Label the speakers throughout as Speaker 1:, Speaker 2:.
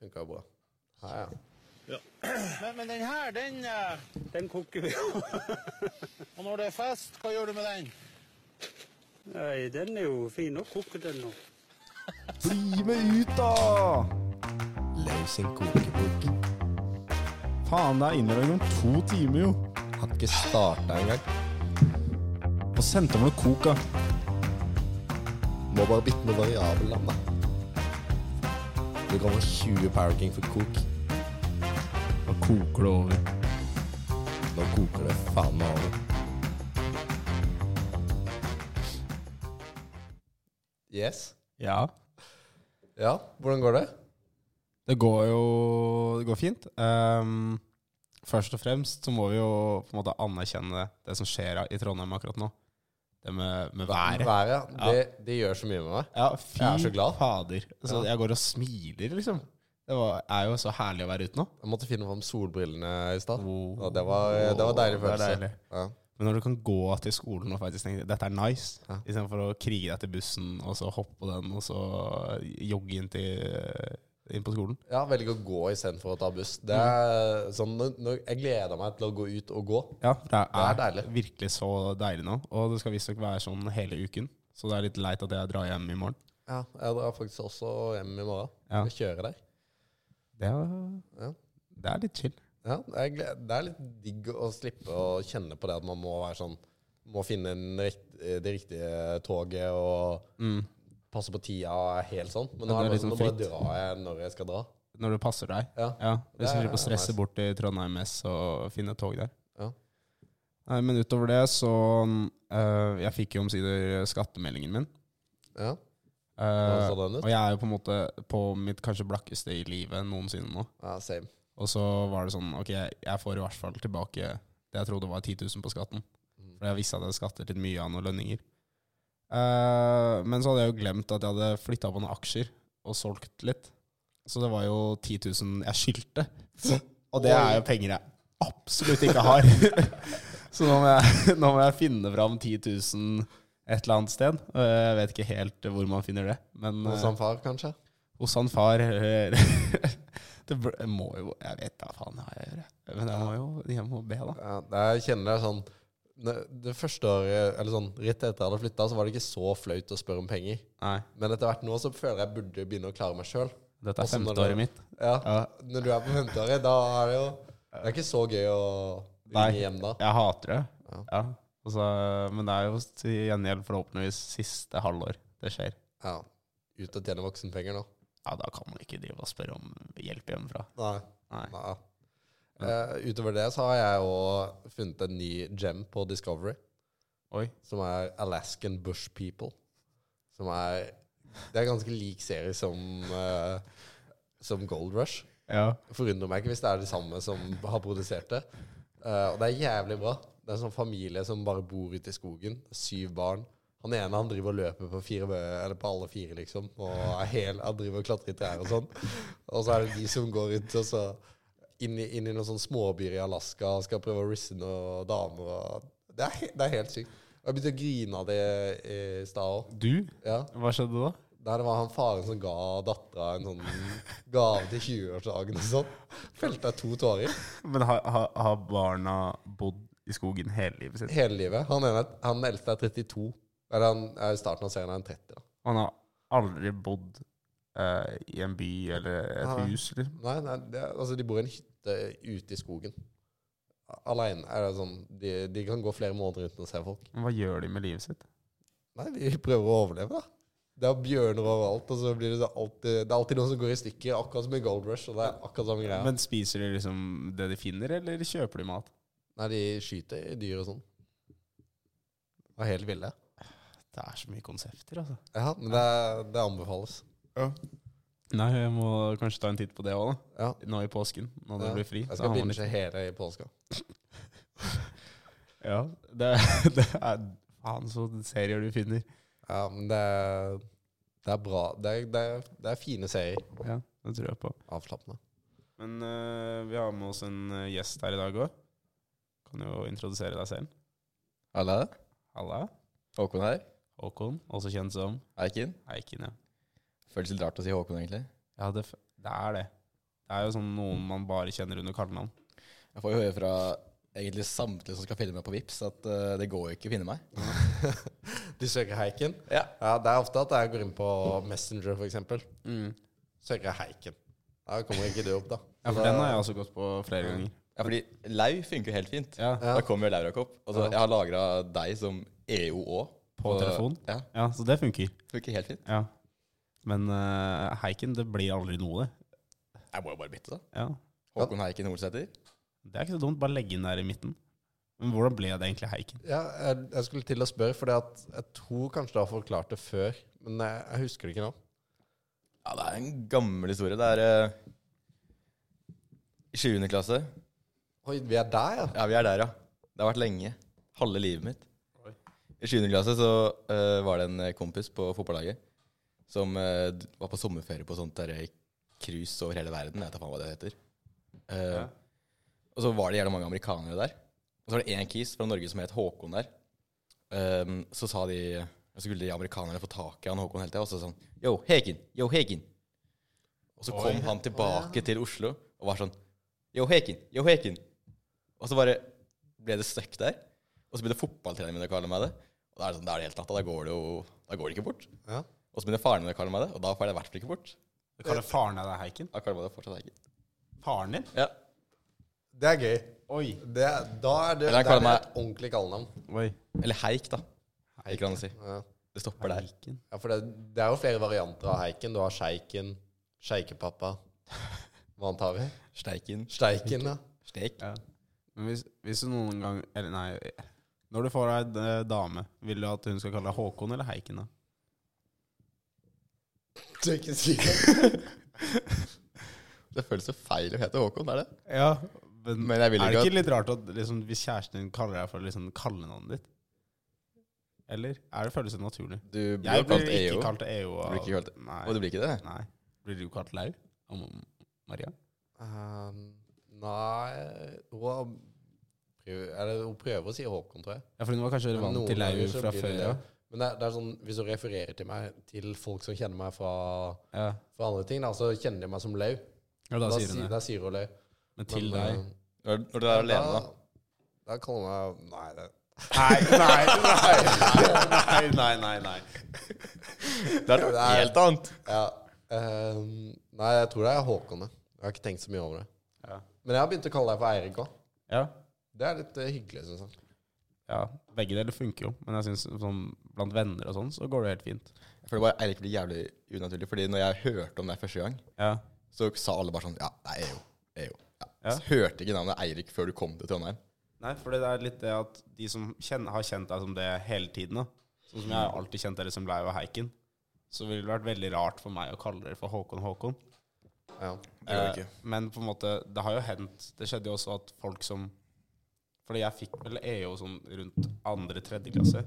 Speaker 1: funka jo bra. Ja, ja.
Speaker 2: Men, men den her, den eh,
Speaker 3: Den koker vi jo.
Speaker 2: Og når det er fest, hva gjør du med den?
Speaker 3: Nei, den er jo fin. Nå koker den nå.
Speaker 4: Bli med ut, da!
Speaker 1: Løs en kokebok.
Speaker 4: Faen, det er innlevering om to timer, jo.
Speaker 1: Har ikke starta engang.
Speaker 4: Og sendte meg coca.
Speaker 1: Må bare bytte med variabel navn, da. Det kommer 20 Power King for kok.
Speaker 4: Da koker det over.
Speaker 1: Nå koker det faen meg over. Yes.
Speaker 4: Ja.
Speaker 1: Ja, hvordan går det?
Speaker 4: Det går jo det går fint. Ehm, først og fremst så må vi jo på en måte anerkjenne det som skjer i Trondheim akkurat nå. Det med, med været.
Speaker 1: Været, ja. det, det gjør så mye med meg.
Speaker 4: Ja, fy
Speaker 1: Jeg er så glad.
Speaker 4: fader. Så
Speaker 1: Ja.
Speaker 4: jeg går og smiler, liksom. Det var, er jo så herlig å være ute nå.
Speaker 1: Jeg måtte finne fram solbrillene i stad.
Speaker 4: Oh.
Speaker 1: Og det var, det var en deilig
Speaker 4: Det er
Speaker 1: følelse.
Speaker 4: deilig.
Speaker 1: Ja.
Speaker 4: Men når du kan gå til skolen og faktisk tenke dette er nice,
Speaker 1: Ja.
Speaker 4: istedenfor å krige deg til bussen, og så hoppe på den, og så jogge inn, til, inn på skolen
Speaker 1: ja, velge å gå istedenfor å ta buss. Det er sånn, nå- nå- jeg gleder meg til å gå ut og gå.
Speaker 4: Ja, det er,
Speaker 1: Det er deilig.
Speaker 4: virkelig så deilig nå. Og det skal visstnok være sånn hele uken, så det er litt leit at jeg drar hjem i morgen.
Speaker 1: Ja, Jeg drar faktisk også hjem i morgen.
Speaker 4: Ja.
Speaker 1: Og kjører der.
Speaker 4: Det er,
Speaker 1: Ja.
Speaker 4: det er litt chill.
Speaker 1: Ja, jeg gleder, det er litt digg å slippe å kjenne på det at man må være sånn Må finne en rikt, det riktige toget og passe på tida og er helt sånn. Men nå,
Speaker 4: Mm. Ja,
Speaker 1: er
Speaker 4: det
Speaker 1: det
Speaker 4: er
Speaker 1: sånn, nå
Speaker 4: litt sånn
Speaker 1: bare
Speaker 4: fritt.
Speaker 1: drar jeg når jeg skal dra.
Speaker 4: Når det passer deg.
Speaker 1: Ja.
Speaker 4: Ja, Hvis du
Speaker 1: Det er
Speaker 4: slipper å stresse
Speaker 1: nice.
Speaker 4: bort til Trondheim S og finne et tog der.
Speaker 1: Ja.
Speaker 4: Nei, Men utover det, så øh, Jeg fikk jo omsider skattemeldingen min.
Speaker 1: Ja.
Speaker 4: Eh,
Speaker 1: Hvordan så den ut?
Speaker 4: og jeg er jo på en måte på mitt kanskje blakkeste i livet noensinne nå.
Speaker 1: ja, same.
Speaker 4: Og så var det sånn Ok, jeg får i hvert fall tilbake det jeg trodde var 10 000 på skatten. For jeg visste at jeg hadde skattet litt mye av noen lønninger. Eh, men så hadde jeg jo glemt at jeg hadde flytta på noen aksjer og solgt litt. Så det var jo 10 000 jeg skyldte. Og det er jo penger jeg absolutt ikke har. så nå må, jeg, nå må jeg finne fram 10 000 et eller annet sted. Og Jeg vet ikke helt hvor man finner det. Men,
Speaker 1: Hos han far, kanskje?
Speaker 4: hos han far eh, Det bl- jeg må jo Jeg vet da faen hva jeg gjør, jeg. men jeg må jo jeg må be, da.
Speaker 1: Ja, det- jeg kjenner det er sånn ne- Det første året, eller sånn rett etter jeg hadde flytta, så var det ikke så flaut å spørre om penger.
Speaker 4: Nei,
Speaker 1: Men etter hvert nå så føler jeg burde begynne å klare meg sjøl.
Speaker 4: dette er
Speaker 1: Også når
Speaker 4: femte
Speaker 1: det-
Speaker 4: året mitt.
Speaker 1: Ja,
Speaker 4: Ja.
Speaker 1: når du er på femteåret, da er det jo Det er ikke så gøy å
Speaker 4: Nei.
Speaker 1: ringe hjem da.
Speaker 4: Jeg hater det.
Speaker 1: Ja.
Speaker 4: Ja. Og så- men det er jo til gjengjeld forhåpentligvis siste halvår det skjer.
Speaker 1: Ja. Ut og tjene voksenpenger nå.
Speaker 4: Ja, da kan man ikke drive og spørre om hjelp hjemmefra.
Speaker 1: Nei.
Speaker 4: Nei.
Speaker 1: Nei. Eh, utover det så har jeg jo funnet en ny gem på Discovery,
Speaker 4: Oi.
Speaker 1: som er Alaskan Bush People. Som er Det er ganske lik serie som, eh, som Gold Rush.
Speaker 4: Ja.
Speaker 1: forundrer meg ikke hvis det er de samme som har produsert det. Eh, og det er jævlig bra. Det er en sånn familie som bare bor ute i skogen. Syv barn. Han ene han driver og løper på, fire, bø- eller på alle fire, liksom. Og er hel, han driver og klatrer i trær og sånn. Og så er det de som går rundt og så inn i, inn i noen sånne småbyer i Alaska og skal prøve å risse noen damer. Og det, er, he- det er helt sykt. Og jeg begynte å grine av det i stad òg.
Speaker 4: Du?
Speaker 1: Ja.
Speaker 4: Hva skjedde da?
Speaker 1: Der det var han faren som ga dattera en sånn gave til 20-årsdagen og sånn. Felte jeg to tårer
Speaker 4: Men har, har, har barna bodd i skogen hele livet sitt?
Speaker 1: hele livet. Han, ene, han eldste er 32. Eller han er i starten av serien er han 30. da.
Speaker 4: Han har aldri bodd eh, i en by eller et
Speaker 1: Nei.
Speaker 4: hus, liksom. eller?
Speaker 1: Nei, nei det, er- altså de bor i en hytte ute i skogen. Aleine. Er det sånn, de, de kan gå flere måneder uten å se folk.
Speaker 4: Men Hva gjør de med livet sitt?
Speaker 1: Nei, de prøver å overleve, da. Det er bjørner overalt, og så blir det, så alltid, det er alltid noen som går i stykker. Akkurat som i Gold Rush. Og det er akkurat samme greia.
Speaker 4: Men spiser de liksom det de finner, eller kjøper de mat?
Speaker 1: Nei, de skyter i dyr og sånn. Og helt ville.
Speaker 4: Det er så mye konsepter, altså.
Speaker 1: Ja, men det, det anbefales.
Speaker 4: Nei, jeg må kanskje ta en titt på det òg, da.
Speaker 1: Ja.
Speaker 4: Nå i påsken, når det
Speaker 1: Ja.
Speaker 4: blir fri.
Speaker 1: Jeg
Speaker 4: så
Speaker 1: skal
Speaker 4: har man litt-
Speaker 1: binge hele i påska.
Speaker 4: Ja, det, det er faen så serier du finner.
Speaker 1: Ja, men det er, det er bra. Det er, det, er, det er fine serier.
Speaker 4: Ja, det tror jeg på.
Speaker 1: Avslappende.
Speaker 4: Men eh, vi har med oss en eh, gjest her i dag òg. Kan jo introdusere deg selv.
Speaker 5: Halla,
Speaker 4: Halla.
Speaker 5: Håkon her.
Speaker 4: Håkon, også kjent som
Speaker 5: Eikin.
Speaker 4: Eiken, ja.
Speaker 5: Føles litt rart å si Håkon, egentlig.
Speaker 4: Ja, det, f- det er det. Det er jo sånn noen man bare kjenner under kallenavn.
Speaker 5: Jeg får jo høre fra egentlig samtlige som skal finne meg på Vips at eh, det går jo ikke å finne meg.
Speaker 1: De søker heiken.
Speaker 5: Ja.
Speaker 1: Ja, det er ofte at jeg går inn på Messenger, for eksempel.
Speaker 5: Mm.
Speaker 1: Søker jeg heiken. Da kommer ikke det opp, da.
Speaker 4: Ja, for den har jeg også gått på flere ganger.
Speaker 5: ja, fordi lau funker jo helt fint.
Speaker 4: Ja,
Speaker 1: Ja.
Speaker 5: Da kommer jo Laurakopp. Altså,
Speaker 1: Ja.
Speaker 5: Jeg har lagra deg som E EO òg.
Speaker 4: På telefon?
Speaker 5: Ja,
Speaker 4: ja Så det funker.
Speaker 5: funker helt fint.
Speaker 4: Ja. Men eh, heiken, det blir aldri noe, det.
Speaker 5: Jeg må jo bare bytte, da.
Speaker 4: Ja.
Speaker 5: Håkon Heiken Olsæter.
Speaker 4: Det er ikke så dumt. Bare legge den der i midten. Men hvordan ble det egentlig heiken?
Speaker 1: Ja, jeg, jeg skulle til å spørre, for jeg tror kanskje du har forklart det før. Men jeg, jeg husker det ikke nå.
Speaker 5: Ja, det er en gammel historie. Det er eh, i 7. klasse.
Speaker 1: Oi, vi er der, ja.
Speaker 5: Ja, vi er der, ja. Det har vært lenge. Halve livet mitt. I 7. klasse så eh, var det en kompis på fotballaget som eh, d- var på sommerferie på sånt der eh, cruise over hele verden. Jeg vet da faen hva det heter. Eh,
Speaker 4: Ja.
Speaker 5: Og så var det jævla mange amerikanere der. Og så var det én kis fra Norge som het Håkon der. Ehm, så sa de Så skulle de amerikanerne få tak i han Håkon hele tida, og så sa han Yo, Hegen! Yo, Hegen! Og så kom han tilbake til Oslo og var sånn Yo, Heken! Yo, Heken! Og så bare ble det stuck der. Og så begynte fotballtreneren min å kalle meg det. Og da er det sånn, da er det helt natta. Da går det jo da går det ikke bort.
Speaker 1: Ja.
Speaker 5: Og så begynner faren min å kalle meg det, og da får jeg det i hvert fall ikke bort.
Speaker 4: Du kaller faren deg det heiken?
Speaker 5: Da kaller meg det fortsatt ikke.
Speaker 4: Faren din?
Speaker 5: Ja.
Speaker 1: Det er gøy.
Speaker 4: Oi.
Speaker 1: Det, da er det,
Speaker 5: Eller jeg
Speaker 1: det, er
Speaker 5: kaller
Speaker 1: det
Speaker 5: meg-
Speaker 1: et ordentlig kallenavn.
Speaker 4: Oi.
Speaker 5: Eller heik, da. Ikke kan du si.
Speaker 1: Ja.
Speaker 5: Det stopper der.
Speaker 4: Heiken.
Speaker 1: Ja, for det, det er jo flere varianter av heiken. Du har sjeiken, sjeikepappa Hva annet har vi?
Speaker 5: Steiken.
Speaker 1: Steiken, ja.
Speaker 5: Steik.
Speaker 4: Ja. Men hvis, hvis du noen gang Eller nei. Når du får deg ei dame, vil du at hun skal kalle deg Håkon eller Heiken? da?
Speaker 1: Du er ikke sikker?
Speaker 5: Det føles så feil å hete Håkon, er det?
Speaker 4: Ja, men,
Speaker 5: Men jeg vil
Speaker 4: er
Speaker 5: ikke
Speaker 4: det
Speaker 5: at-
Speaker 4: ikke litt rart at liksom, hvis kjæresten din kaller deg for liksom, kallenavnet ditt? Eller er det følelse naturlig?
Speaker 5: Du blir
Speaker 4: Jeg
Speaker 5: jo
Speaker 4: blir
Speaker 5: kalt E
Speaker 4: ikke
Speaker 5: EO.
Speaker 4: kalt E EO.
Speaker 5: Du
Speaker 4: av-
Speaker 5: blir ikke kalt
Speaker 4: Nei.
Speaker 5: Og du blir ikke det?
Speaker 4: Nei. Blir du kalt Lau? Av Maria?
Speaker 1: Ehm, nei hun, prøv- eller, hun prøver å si Håkon, tror jeg.
Speaker 4: Ja, for hun var kanskje
Speaker 1: Men
Speaker 4: vant
Speaker 1: noen
Speaker 4: til Lau
Speaker 1: ganger så
Speaker 4: fra
Speaker 1: blir
Speaker 4: før
Speaker 1: det
Speaker 4: ja.
Speaker 1: det. Men det er, det er sånn, hvis hun refererer til meg til folk som kjenner meg fra,
Speaker 4: Ja.
Speaker 1: fra andre ting, da, så kjenner de meg som Lau.
Speaker 4: ja,
Speaker 1: Da
Speaker 4: da sier hun
Speaker 1: sier-
Speaker 4: det.
Speaker 1: da sier hun Lau.
Speaker 4: Men til
Speaker 1: Men,
Speaker 4: deg
Speaker 1: eh,
Speaker 5: Når når du er alene, da.
Speaker 1: Da kaller hun meg Nei, det
Speaker 4: Nei, nei, nei, nei, eh, nei, nei, nei.
Speaker 5: Det er noe
Speaker 1: Nei.
Speaker 5: helt annet.
Speaker 1: Ja. ehm, nei, jeg tror det er Håkon, ja. Jeg har ikke tenkt så mye over det.
Speaker 4: Ja.
Speaker 1: Men jeg har begynt å kalle deg for Eirik òg.
Speaker 4: Ja.
Speaker 1: Det er litt eh, hyggelig, syns jeg.
Speaker 4: ja, begge deler funker jo, men jeg synes sånn, blant venner og sånn, så går det helt fint.
Speaker 5: Jeg føler bare Eirik blir jævlig unaturlig, fordi når jeg hørte om det første gang,
Speaker 4: Ja,
Speaker 5: så sa alle bare sånn Ja, det er EO. EO. Ja.
Speaker 4: Ja.
Speaker 5: Så hørte ikke navnet Eirik før du kom til Trondheim.
Speaker 4: Nei, for det er litt det at de som kjen- har kjent deg som det hele tiden, da. Sånn som jeg har alltid kjent dere som Lau og Heiken, så ville det vært veldig rart for meg å kalle dere for Håkon Håkon.
Speaker 1: Ja.
Speaker 5: gjør det
Speaker 4: Eh, men på en måte, det har jo hendt Det skjedde jo også at folk som Fordi jeg fikk vel EO sånn rundt andre, tredje klasse.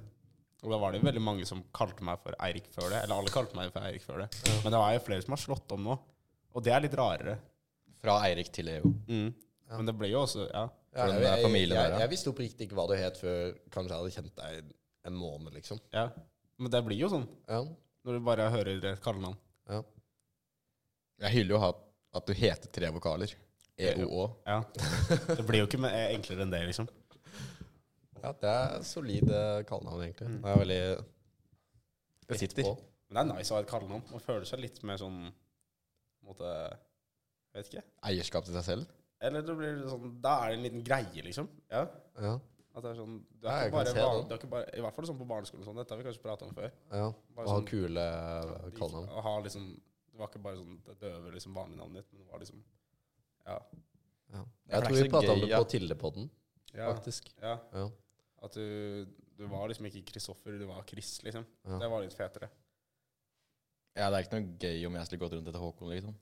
Speaker 4: Og da var det jo veldig mange som kalte meg for Eirik før det. Eller alle kalte meg for Eirik før det. Men det var jo flere som har slått om nå. Og det er litt rarere.
Speaker 5: Fra Eirik til E EO.
Speaker 4: Men det blir jo også Ja.
Speaker 1: Ja,
Speaker 5: Hvordan
Speaker 1: jeg,
Speaker 5: er
Speaker 1: jeg,
Speaker 5: familien
Speaker 1: jeg,
Speaker 5: der,
Speaker 1: jeg,
Speaker 5: da?
Speaker 1: visste oppriktig ikke hva du het før kanskje jeg hadde kjent deg en- en måned, liksom.
Speaker 4: ja. Men det blir jo sånn
Speaker 1: Ja.
Speaker 4: når du bare hører et kallenavn.
Speaker 1: ja.
Speaker 5: Jeg hyller jo at, at du heter tre vokaler. E EOÅ.
Speaker 4: Ja. Det blir jo ikke me- enklere enn det, liksom.
Speaker 1: ja det er solide kallenavn, egentlig. Det er veldig
Speaker 5: Mm. Det sitter.
Speaker 1: på.
Speaker 4: Men det er nice å ha et kallenavn. Man føler seg litt mer sånn på en måte, Jeg vet ikke.
Speaker 5: Eierskap til seg selv.
Speaker 4: Eller det blir sånn, da er det en liten greie, liksom. Ja.
Speaker 1: Ja.
Speaker 4: At det er sånn, du
Speaker 1: Ja,
Speaker 4: er
Speaker 1: jeg
Speaker 4: ikke bare,
Speaker 1: kan se
Speaker 4: van,
Speaker 1: det.
Speaker 4: du er ikke bare I hvert fall sånn på barneskolen. og Sånn, dette har vi kanskje prata om før.
Speaker 1: ja.
Speaker 4: Bare
Speaker 1: Og ha
Speaker 4: sånn-
Speaker 1: kule eh,
Speaker 4: De-
Speaker 1: kallenavn.
Speaker 4: Å ha liksom, det var ikke bare sånn det døve, liksom, vanlige navnet ditt, men det var liksom Ja.
Speaker 1: Ja.
Speaker 5: Ja, for
Speaker 1: Jeg
Speaker 5: det er
Speaker 1: tror
Speaker 5: ikke
Speaker 1: vi
Speaker 5: så
Speaker 1: prata om
Speaker 5: gøy,
Speaker 1: det
Speaker 5: ja.
Speaker 1: på Tildepodden,
Speaker 4: Ja.
Speaker 1: faktisk.
Speaker 4: ja.
Speaker 1: Ja.
Speaker 4: At du, du var liksom ikke Kristoffer, du var Chris, liksom.
Speaker 1: Ja.
Speaker 4: Det var litt fetere.
Speaker 5: Ja, Det er ikke noe gøy om jeg skulle gått rundt etter Håkon, liksom.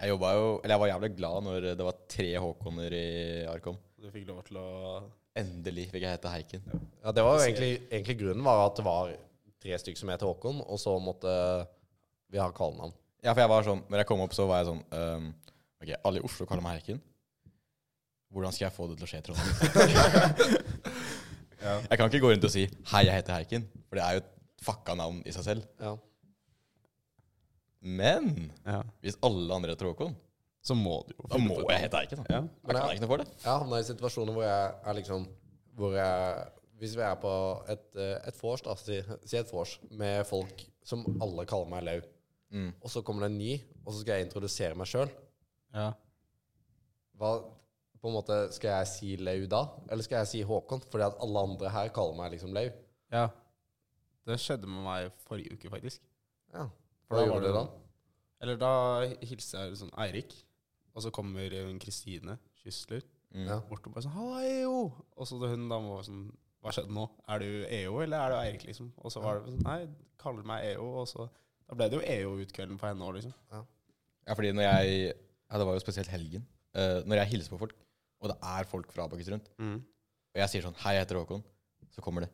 Speaker 5: Jeg jobba jo Eller jeg var jævlig glad når det var tre Håkoner i Arkom.
Speaker 4: Og du fikk lov til å
Speaker 5: Endelig fikk jeg hete Heiken.
Speaker 1: Ja, det var jo egentlig, egentlig grunnen var at det var tre stykker som het Håkon, og så måtte vi ha kallenavn.
Speaker 5: Ja, for jeg var sånn Når jeg kom opp, så var jeg sånn ehm, Ok, alle i Oslo kaller meg Heiken. Hvordan skal jeg få det til å skje, Trondheim?
Speaker 4: Ja.
Speaker 5: Jeg kan ikke gå rundt og si 'Hei, jeg heter Heiken', for det er jo et fucka navn i seg selv.
Speaker 1: Ja.
Speaker 5: Men
Speaker 4: Ja.
Speaker 5: hvis alle andre heter Håkon,
Speaker 4: så må du jo
Speaker 5: Da
Speaker 4: finne
Speaker 5: må
Speaker 4: på et
Speaker 5: jeg hete Eiken, da.
Speaker 4: Ja.
Speaker 5: Da kan jeg ikke noe for det.
Speaker 1: Jeg har havna i situasjoner hvor jeg er liksom Hvor jeg Hvis vi er på et, eh, et vors, da, si, si et vors, med folk som alle kaller meg Lau,
Speaker 4: Mm.
Speaker 1: og så kommer det en ny, og så skal jeg introdusere meg sjøl,
Speaker 4: Ja.
Speaker 1: hva på en måte, Skal jeg si Lau da, eller skal jeg si Håkon? Fordi at alle andre her kaller meg liksom Lau.
Speaker 4: ja. Det skjedde med meg forrige uke, faktisk.
Speaker 1: Ja.
Speaker 4: Da
Speaker 1: Hva
Speaker 4: var
Speaker 1: gjør du
Speaker 4: det-
Speaker 1: da?
Speaker 4: Eller da hilser jeg sånn Eirik, og så kommer hun Kristine Kysler
Speaker 1: Ja.
Speaker 4: bort og bare sånn 'Halla, EO!' Og så da hun dama var sånn 'Hva skjedde nå? Er du EO, eller er du Eirik?' liksom? Og så var det sånn 'Nei, kaller meg EO', og så Da ble det jo E EO-utkvelden for henne òg, liksom.
Speaker 5: Ja, fordi når jeg Ja, det var jo spesielt helgen. Eh, når jeg hilser på folk, og det er folk fra Abakus rundt,
Speaker 4: Mm.
Speaker 5: og jeg sier sånn 'Hei, jeg heter Håkon', så kommer det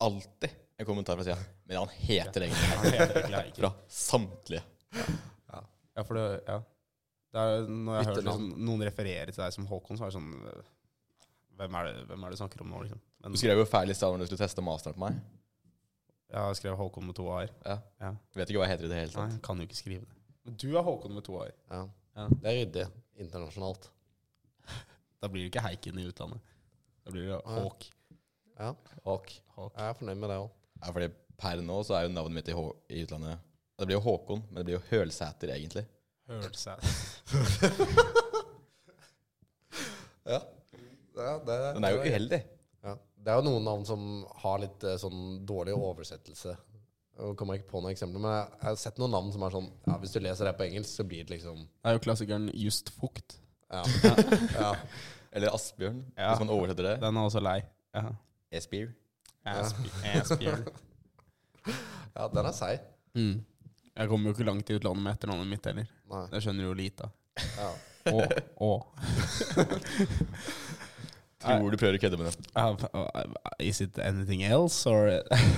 Speaker 5: alltid en kommentar fra sida. Men han heter egentlig
Speaker 4: Han heter egentlig Eirik.
Speaker 5: Fra samtlige.
Speaker 4: Ja, for det Ja. Det er, når jeg
Speaker 1: Bytte
Speaker 4: hører liksom,
Speaker 1: navn.
Speaker 4: noen referere til deg som Håkon, så er det sånn øh, Hvem er det, hvem er det du snakker om nå, liksom? Men,
Speaker 5: Du skrev jo feil i stad når du skulle teste masteren på meg.
Speaker 4: ja, jeg skrev Håkon med to a-er.
Speaker 5: Ja.
Speaker 4: Ja.
Speaker 5: Jeg vet ikke hva jeg heter i det hele
Speaker 4: Nei,
Speaker 5: tatt.
Speaker 4: jeg kan jo ikke skrive det. Men du er Håkon med to a-er.
Speaker 1: Ja.
Speaker 4: Ja.
Speaker 1: Det er ryddig internasjonalt.
Speaker 4: Da blir det ikke Heiken i utlandet. Da blir det Håk.
Speaker 1: Ja.
Speaker 5: Håk.
Speaker 4: Håk.
Speaker 1: Jeg er fornøyd med det òg.
Speaker 5: Ja, fordi per nå så er jo navnet mitt i, Hå i utlandet Det blir jo Håkon, men det blir jo Hølsæter, egentlig.
Speaker 4: Hørte seg
Speaker 1: Ja. Ja, det,
Speaker 5: Den er jo uheldig.
Speaker 1: Ja. Det er jo noen navn som har litt eh, sånn dårlig oversettelse. Jeg kommer ikke på noen eksempler, men jeg jeg har sett noen navn som er sånn ja, Hvis du leser det på engelsk, så blir det liksom
Speaker 4: Det er jo klassikeren Just Fukt.
Speaker 1: Ja.
Speaker 5: Eller Asbjørn,
Speaker 4: Ja.
Speaker 5: hvis man oversetter det.
Speaker 4: Den er også lei. Ja.
Speaker 5: Esbjerg.
Speaker 4: Asbjørn.
Speaker 1: ja den er seig.
Speaker 4: Mm. Jeg kommer jo ikke langt i utlandet med etternavnet mitt heller.
Speaker 1: Nei.
Speaker 4: Det skjønner jo lite av.
Speaker 1: Ja.
Speaker 4: Å, å.
Speaker 5: Tror du prøver å kødde med det.
Speaker 4: Uh, Is it anything else, or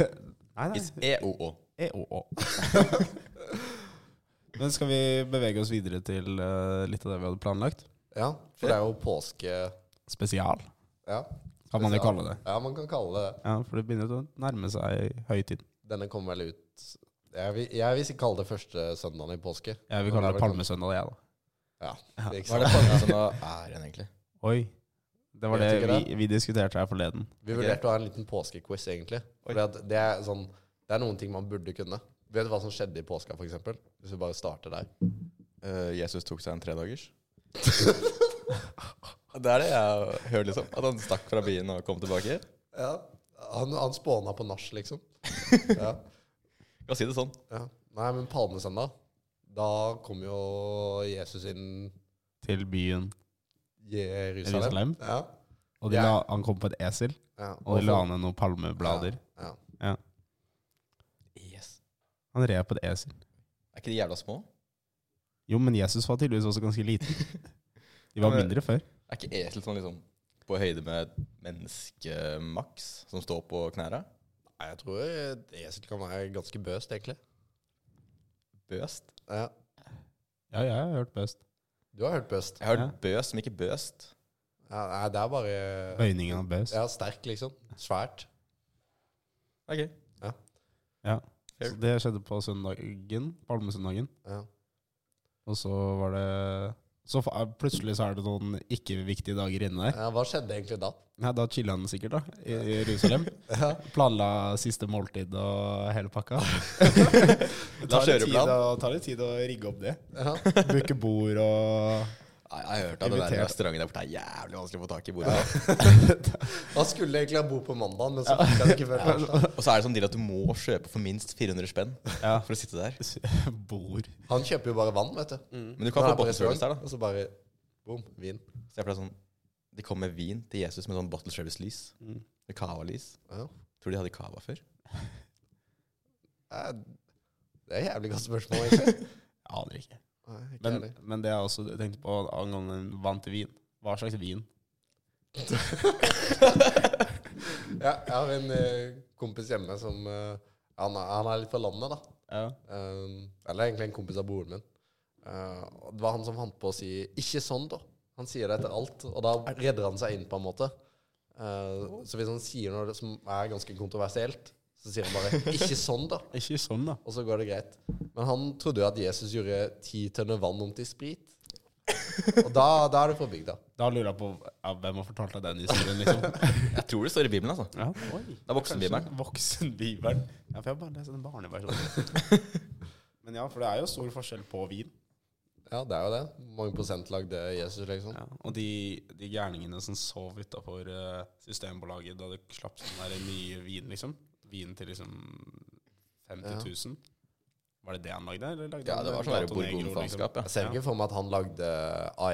Speaker 4: Nei,
Speaker 5: It's EOO.
Speaker 4: E-O-O. Men skal vi bevege oss videre til eh, litt av det vi hadde planlagt?
Speaker 1: ja. For det er jo påske
Speaker 4: Spesial,
Speaker 1: Ja,
Speaker 4: kan man jo kalle det.
Speaker 1: ja man kan kalle det det.
Speaker 4: Ja, For det begynner jo å nærme seg høytid.
Speaker 1: Denne kommer vel ut Jeg vil, jeg vil ikke kalle det første søndagen i påske.
Speaker 4: Jeg vil kalle det palmesøndag, jeg, da.
Speaker 1: Ja, det er ikke
Speaker 5: Hva er det
Speaker 1: sant.
Speaker 5: Palme som da er igjen, egentlig?
Speaker 4: Oi. Det var det
Speaker 1: Jeg vet ikke
Speaker 4: vi, vi diskuterte her forleden.
Speaker 1: Vi vurderte å ha en liten påskequiz, egentlig. Fordi at det, er sånn, det er noen ting man burde kunne. Vet du hva som skjedde i påska, for eksempel? Hvis vi bare starter der.
Speaker 5: Eh, Jesus tok seg en tredagers. det er det jeg hører, liksom. At han stakk fra byen og kom tilbake.
Speaker 1: Ja. Han, han spåna på nach, liksom. Ja.
Speaker 5: Kan si det sånn.
Speaker 1: ja. Nei, men Palmesøndag, da kom jo Jesus inn
Speaker 4: Til byen
Speaker 1: Jerusalem.
Speaker 4: Jerusalem.
Speaker 1: Ja.
Speaker 4: Og de la, han kom på et esel,
Speaker 1: ja.
Speaker 4: og de la ned noen palmeblader.
Speaker 1: Ja.
Speaker 4: Ja.
Speaker 5: Yes.
Speaker 4: Han red på et esel.
Speaker 5: Er ikke de jævla små?
Speaker 4: Jo, men Jesus var tydeligvis også ganske liten. De var
Speaker 5: Ja, men-
Speaker 4: mindre før.
Speaker 5: Er ikke esel sånn liksom på høyde med menneskemaks, som står på knæra?
Speaker 1: Nei, jeg tror et esel kan være ganske bøst, egentlig.
Speaker 5: Bøst?
Speaker 1: Ja.
Speaker 4: Ja, jeg har hørt best.
Speaker 1: Du har hørt bøst.
Speaker 5: Jeg har
Speaker 4: Ja.
Speaker 5: hørt bøs, men ikke bøst.
Speaker 1: Ja, nei, det er bare
Speaker 4: Bøyningen av bøs.
Speaker 1: Ja, sterk, liksom. Svært.
Speaker 5: Ok.
Speaker 4: Ja. Så det skjedde på søndagen, palmesøndagen.
Speaker 1: Ja.
Speaker 4: Og så var det Så fa- plutselig så er det noen ikke-viktige dager inne der.
Speaker 1: ja, Hva skjedde egentlig da?
Speaker 4: Nei, da chilla han sikkert, da. I i Jerusalem. Planla siste måltid og hele pakka. Det tar litt, tid
Speaker 5: kjøreplan.
Speaker 4: å, tar litt tid å rigge opp det.
Speaker 1: Ja.
Speaker 4: Booke bord og
Speaker 5: Nei, jeg har hørt at den der
Speaker 4: Invitert.
Speaker 5: restauranten der borte er jævlig vanskelig å få tak i bordet.
Speaker 1: Han skulle egentlig ha bo på mandag, men så fikk han ikke før torsdag.
Speaker 5: Og så er det sånn deal at du må kjøpe for minst 400 spenn
Speaker 4: Ja.
Speaker 5: for å sitte der.
Speaker 4: Bord.
Speaker 1: Han kjøper jo bare vann, vet du.
Speaker 5: Men du
Speaker 1: Når
Speaker 5: kan
Speaker 1: han Mm. er
Speaker 5: få
Speaker 1: på
Speaker 5: bottle service der,
Speaker 1: restaurant,
Speaker 5: da.
Speaker 1: Og så bare boom, vin.
Speaker 5: Se for deg sånn De kom med vin til Jesus med sånn bottle service-lys.
Speaker 1: Mm.
Speaker 5: Med Cava-lys.
Speaker 1: Ja.
Speaker 5: Tror du de hadde Cava før?
Speaker 1: Eh, Det er et jævlig godt spørsmål, egentlig.
Speaker 4: Jeg aner ikke.
Speaker 1: Nei, ikke
Speaker 4: Men,
Speaker 1: heller.
Speaker 4: men det jeg også tenkte på angående vann til vin Hva slags vin?
Speaker 1: ja, jeg har en eh, kompis hjemme som eh, han, er, han er litt fra landet, da.
Speaker 4: Ja.
Speaker 1: Eh, eller egentlig en kompis av broren min. Eh, og det var han som fant på å si 'ikke sånn', da. Han sier det etter alt, og da redder han seg inn, på en måte. Eh, så hvis han sier noe som er ganske kontroversielt, så sier han bare 'ikke sånn', da.
Speaker 4: Ikke sånn, da.
Speaker 1: Og så går det greit. Men han trodde jo at Jesus gjorde ti tønner vann om til sprit. Og da, da er du fra bygda.
Speaker 4: Da lurer jeg på ja, hvem har fortalt deg den historien, liksom.
Speaker 5: Jeg tror det står i Bibelen, altså.
Speaker 4: Ja, oi.
Speaker 5: Det er voksenbibelen.
Speaker 4: Kanskje Voksenbibelen. Ja, for jeg har bare lest den barneversjonen. Men ja, for det er jo stor forskjell på vin.
Speaker 1: Ja, det er jo det. Mange prosent lagde Jesus, liksom.
Speaker 4: Ja, og de, de gærningene som sov utafor Systembolaget da det slapp sånn der mye vin, liksom. Vin til liksom 50 000. Var det det han lagde? Eller lagde
Speaker 5: Ja,
Speaker 4: han
Speaker 5: det var sånn der
Speaker 4: Gato Negro, liksom?
Speaker 5: bourbonfaenskap,
Speaker 1: Jeg
Speaker 5: ja.
Speaker 1: ser jo ikke for meg at han lagde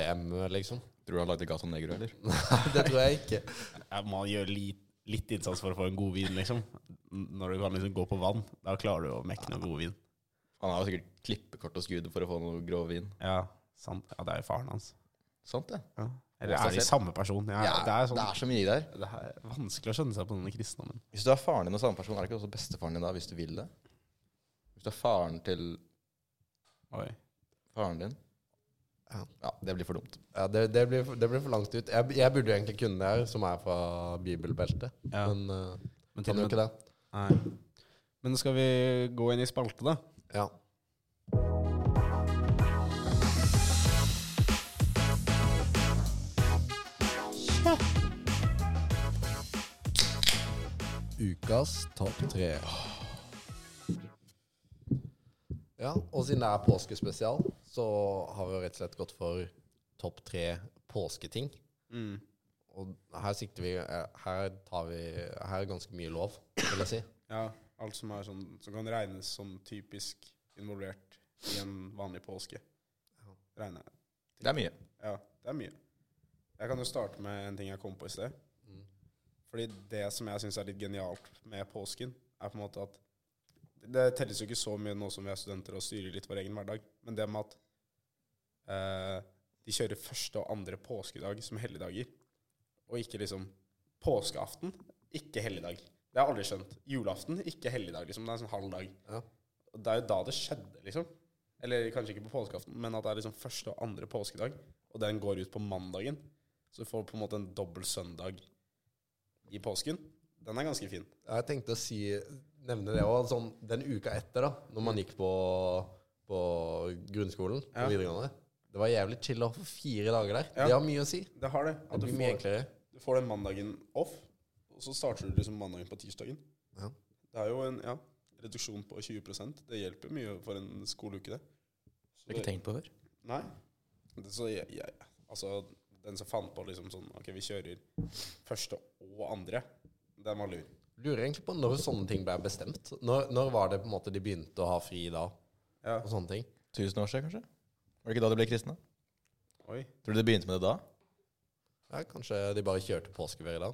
Speaker 1: IM, liksom.
Speaker 5: Tror du han lagde Gato Negro, eller?
Speaker 1: Det tror jeg ikke.
Speaker 4: ja, man gjør litt, litt innsats for å få en god vin, liksom. N- Når du kan liksom gå på vann, da klarer du å mekke noe god vin.
Speaker 5: Han har jo sikkert klippekort hos Gud for å få noe grov vin.
Speaker 4: Ja, sant. Ja, det er jo faren hans.
Speaker 5: Sant, det.
Speaker 4: Eller er de samme person? Ja,
Speaker 5: Ja,
Speaker 4: det er sånn
Speaker 5: så mye der.
Speaker 4: det er vanskelig å skjønne seg på denne kristendommen.
Speaker 5: Hvis du er faren din og samme person, er det ikke også bestefaren din da, hvis du vil det? Hvis du er faren til
Speaker 4: Oi.
Speaker 5: faren din
Speaker 1: Ja.
Speaker 5: Ja, det blir for dumt.
Speaker 1: Ja, det, det, blir, for- det blir for langt ut. Jeg, jeg burde jo egentlig kunne det her, som er fra bibelbeltet.
Speaker 4: Ja.
Speaker 1: Men uh,
Speaker 4: Men,
Speaker 1: kan jo ikke det.
Speaker 4: Nei. Men skal vi gå inn i spalte, da?
Speaker 1: Ja. Ukas topp tre. Ja, og siden det er påskespesial, så har vi jo rett og slett gått for topp tre påsketing. Og her sikter vi eh, Her tar vi Her er ganske mye lov, vil jeg si.
Speaker 4: Ja, alt som, er sånn, som kan regnes som typisk involvert i en vanlig påske. Regner jeg.
Speaker 5: Det er mye.
Speaker 4: Ja, det er mye. Jeg kan jo starte med en ting jeg kom på i sted. Fordi det som jeg syns er litt genialt med påsken, er på en måte at Det telles jo ikke så mye nå som vi er studenter og styrer litt vår egen hverdag, men det med at eh, de kjører første og andre påskedag som helligdager, og ikke liksom påskeaften, ikke helligdag. Det har jeg aldri skjønt. Julaften, ikke helligdag, liksom. Det er en sånn halv dag.
Speaker 1: Ja.
Speaker 4: Og Det er jo da det skjedde, liksom. Eller kanskje ikke på påskeaften, men at det er liksom første og andre påskedag, og den går ut på mandagen. Så du får på en måte en dobbel søndag i påsken. Den er ganske fin.
Speaker 1: Jeg tenkte å si, nevne det òg. Sånn, den uka etter, da Når man gikk på, på grunnskolen
Speaker 4: Ja.
Speaker 1: og videregående Det var jævlig chill å ha fire dager der.
Speaker 4: Ja.
Speaker 1: Det har mye å si.
Speaker 4: Det har det. At
Speaker 1: Det
Speaker 4: du
Speaker 1: blir mye
Speaker 4: får,
Speaker 1: enklere.
Speaker 4: du får den mandagen off, og så starter du liksom mandagen på tirsdagen.
Speaker 1: Ja.
Speaker 4: Det er jo en ja, reduksjon på 20 Det hjelper mye for en skoleuke, det. Så
Speaker 5: Det har jeg ikke tenkt på før.
Speaker 4: Nei. Det- Så jeg, jeg, altså, den som fant på liksom sånn Ok, vi kjører første og andre. Den var lur.
Speaker 1: Lurer egentlig på når sånne ting ble bestemt. Når, når var det på en måte de begynte å ha fri da?
Speaker 4: Ja.
Speaker 1: Og sånne ting.
Speaker 5: Tusen år siden, kanskje? Var det ikke da de ble kristne?
Speaker 4: Oi.
Speaker 5: Tror du det begynte med det da?
Speaker 1: Ja, kanskje de bare kjørte påskeferie da.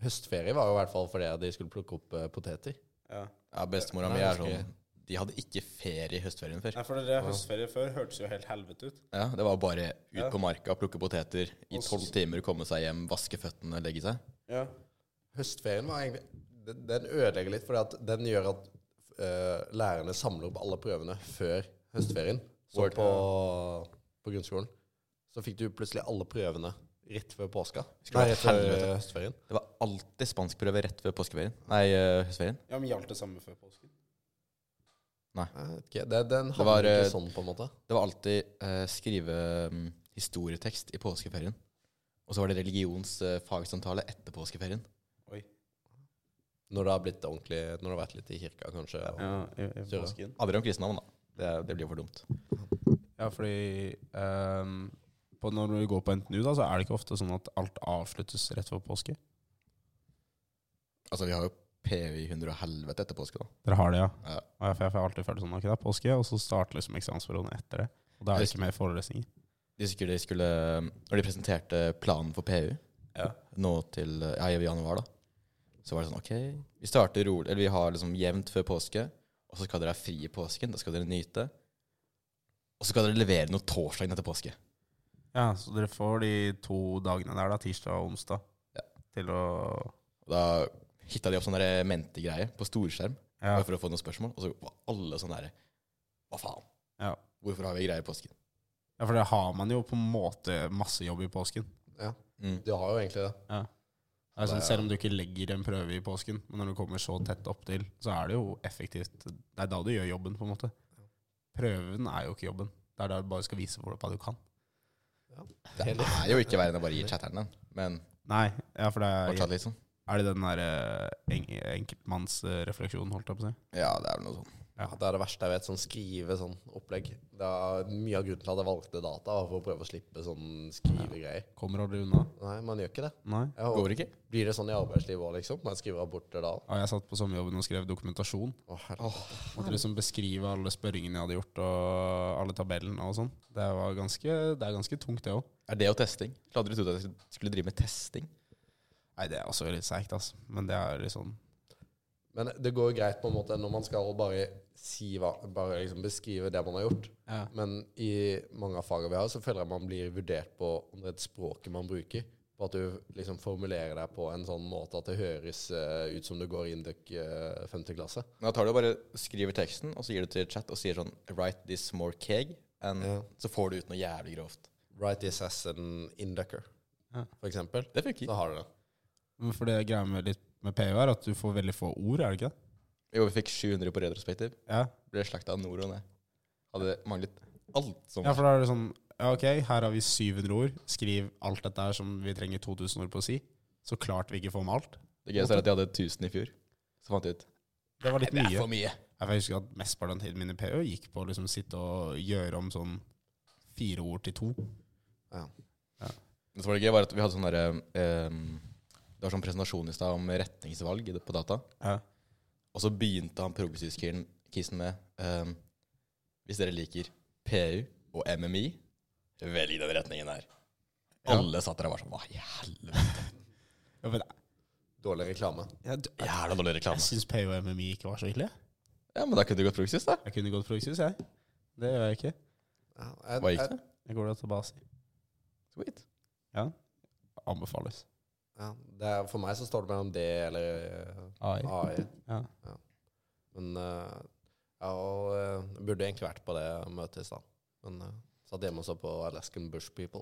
Speaker 1: Høstferie var jo i hvert fall fordi de skulle plukke opp eh, poteter.
Speaker 4: Ja.
Speaker 5: Ja, bestemora
Speaker 1: Nei,
Speaker 5: mi er
Speaker 1: jeg husker
Speaker 5: sånn De hadde ikke ferie i høstferien før.
Speaker 4: Nei, for det høstferie før hørtes jo helt helvete ut.
Speaker 5: Ja, Det var bare ut
Speaker 4: Ja.
Speaker 5: på marka, plukke poteter i
Speaker 4: Og s-
Speaker 5: tolv timer, komme seg hjem, vaske føttene, legge seg.
Speaker 4: Ja.
Speaker 1: Høstferien var egentlig Den, den ødelegger litt, fordi at den gjør at eh, lærerne samler opp alle prøvene før høstferien. Så
Speaker 5: Word.
Speaker 1: på, på grunnskolen så fikk du plutselig alle prøvene rett før påska.
Speaker 5: Skulle
Speaker 1: Nei,
Speaker 5: vært
Speaker 1: rett før
Speaker 5: helvete.
Speaker 1: høstferien.
Speaker 5: Det var alltid spanskprøve rett før påskeferien. Nei, eh, høstferien.
Speaker 4: ja, men gjaldt det samme før påsken?
Speaker 1: Jeg vet ikke, det, den havner
Speaker 5: var, eh,
Speaker 1: ikke sånn, på en måte.
Speaker 5: Det var alltid eh, skrive mm, historietekst i påskeferien. Og så var det religionsfagsamtale etter påskeferien.
Speaker 4: Oi.
Speaker 1: Når det har blitt ordentlig Når det har vært litt i kirka, kanskje. og-
Speaker 4: Ja, i, i
Speaker 1: Kjør da.
Speaker 4: påsken.
Speaker 5: Aldri om kristendom, da. Det, det blir jo for dumt.
Speaker 4: Ja, fordi ehm, på når vi går på NTNU, da, så er det ikke ofte sånn at alt avsluttes rett før påske.
Speaker 5: Altså, vi har jo PV i hundre og helvete etter påske, da.
Speaker 4: Dere har det, ja?
Speaker 5: Ja.
Speaker 4: Og jeg, for jeg får alltid følt sånn ok, det er påske, og så starter liksom eksamensperioden etter det. Og da er det ikke mer forelesninger.
Speaker 5: De husker de skulle Når de presenterte planen for PU
Speaker 4: Ja.
Speaker 5: nå til ja, i januar, da, så var det sånn OK, vi starter rolig Eller vi har liksom jevnt før påske, og så skal dere ha fri i påsken. Da skal dere nyte. Og så skal dere levere noe torsdagen etter påske.
Speaker 4: Ja, så dere får de to dagene der, da, tirsdag og onsdag,
Speaker 5: Ja.
Speaker 4: til å
Speaker 5: Og da hitta de opp sånne der mente-greier på storskjerm
Speaker 4: ja.
Speaker 5: bare for å få noen spørsmål, og så var alle sånn derre Hva faen?
Speaker 4: Ja.
Speaker 5: Hvorfor har vi greier i påsken?
Speaker 4: ja, for det har man jo på en måte masse jobb i påsken.
Speaker 5: Mm.
Speaker 1: Du har jo egentlig det.
Speaker 4: Det er
Speaker 1: Det
Speaker 4: sånn,
Speaker 1: er-
Speaker 4: selv om du ikke legger en prøve i påsken, men når du kommer så tett opptil, så er det jo effektivt. Det er da du gjør jobben, på en måte. Prøven er jo ikke jobben. Det er der du bare skal vise folk hva du kan.
Speaker 5: Det er jo ikke verre enn å bare gi chatteren den, men
Speaker 4: Nei, ja, for det er,
Speaker 5: fortsatt litt sånn.
Speaker 4: er det den der eh, en, enkeltmannsrefleksjonen, holdt jeg på å si.
Speaker 5: Ja, det er vel noe sånn. sånt.
Speaker 1: Ja, det er det verste jeg vet, sånn skrive sånn opplegg. Det er mye av grunnen til at jeg valgte data, var for å prøve å slippe sånn skrivegreier.
Speaker 4: Kommer aldri unna.
Speaker 1: Nei, man gjør ikke det.
Speaker 4: Nei.
Speaker 1: Jeg håper-
Speaker 5: Går ikke?
Speaker 1: Blir det sånn i arbeidslivet òg, liksom? Man skriver rapporter da?
Speaker 4: Ja, jeg satt på sommerjobben og skrev dokumentasjon.
Speaker 1: Å, herregud.
Speaker 4: Måtte liksom beskrive alle spørringene jeg hadde gjort, og alle tabellene og sånn. Det, var ganske, det er ganske tungt, det òg.
Speaker 5: Er det jo testing? Jeg hadde aldri trodd at jeg skulle drive med testing.
Speaker 4: Nei, det er også litt seigt, altså. Men det er litt sånn
Speaker 1: Men det går jo greit på en måte når man skal bare, si hva, bare liksom beskrive det man har gjort.
Speaker 4: ja.
Speaker 1: Men i mange av fagene vi har, så føler jeg man blir vurdert på om det er et språket man bruker. På at du liksom formulerer deg på en sånn måte at det høres eh, ut som du går inn i uh, 5. klasse.
Speaker 5: Men da tar du og bare skriver teksten, og så gir du til chat og sier sånn Write this more keg. And
Speaker 1: Ja.
Speaker 5: Så får du ut noe jævlig grovt.
Speaker 1: Write this as an inducker,
Speaker 4: Ja.
Speaker 1: for eksempel.
Speaker 5: Det funker.
Speaker 1: Så har du det.
Speaker 4: Men For det greia med, litt, med PU er at du får veldig få ord, er det ikke det?
Speaker 5: Jo, vi fikk 700 på retrospektiv.
Speaker 4: Ja,
Speaker 5: Ble slakta av nord og ned. Hadde manglet alt som
Speaker 4: ja for da er det sånn Ja, ok, her har vi 700 ord. Skriv alt dette her som vi trenger 2000 ord på å si. Så klart vi ikke får med alt.
Speaker 5: Det gøyeste er at jeg hadde 1000 i fjor. Så fant jeg ut
Speaker 4: Det var litt mye.
Speaker 5: for mye.
Speaker 4: Jeg husker at mesteparten av tiden min i PU gikk på å liksom sitte og gjøre om sånn fire ord til to.
Speaker 5: Men så var det gøy var at vi hadde sånn derre ehm, Det var sånn presentasjon i stad om retningsvalg i det- på data.
Speaker 4: Ja.
Speaker 5: Og så begynte han progressive-kissen med ehm, Hvis dere liker PU og MMI, velg den retningen her.
Speaker 4: Ja.
Speaker 5: Alle satt der og var sånn Hva i helvete?
Speaker 4: Ja, men
Speaker 1: Dårlig reklame.
Speaker 4: jeg,
Speaker 5: Jævla dårlig
Speaker 4: jeg
Speaker 5: reklame.
Speaker 4: syns PU og MMI ikke var så ille.
Speaker 5: Ja, men da kunne du gått progressive, da.
Speaker 4: Jeg kunne gått progressiv, jeg. Det gjør jeg ikke.
Speaker 1: Ja, jeg-
Speaker 5: Hva gikk
Speaker 1: jeg-
Speaker 5: det?
Speaker 4: Jeg går da til Basi.
Speaker 5: Sweet.
Speaker 4: Anbefales.
Speaker 1: Ja, det er, for meg så står det mellom det eller
Speaker 4: AI.
Speaker 1: eh, AI.
Speaker 4: Ja.
Speaker 1: Men eh, ja, og, eh, jeg burde egentlig vært på det møtet i stad. Men uh, satt hjemme og så på Alaskan Bush People.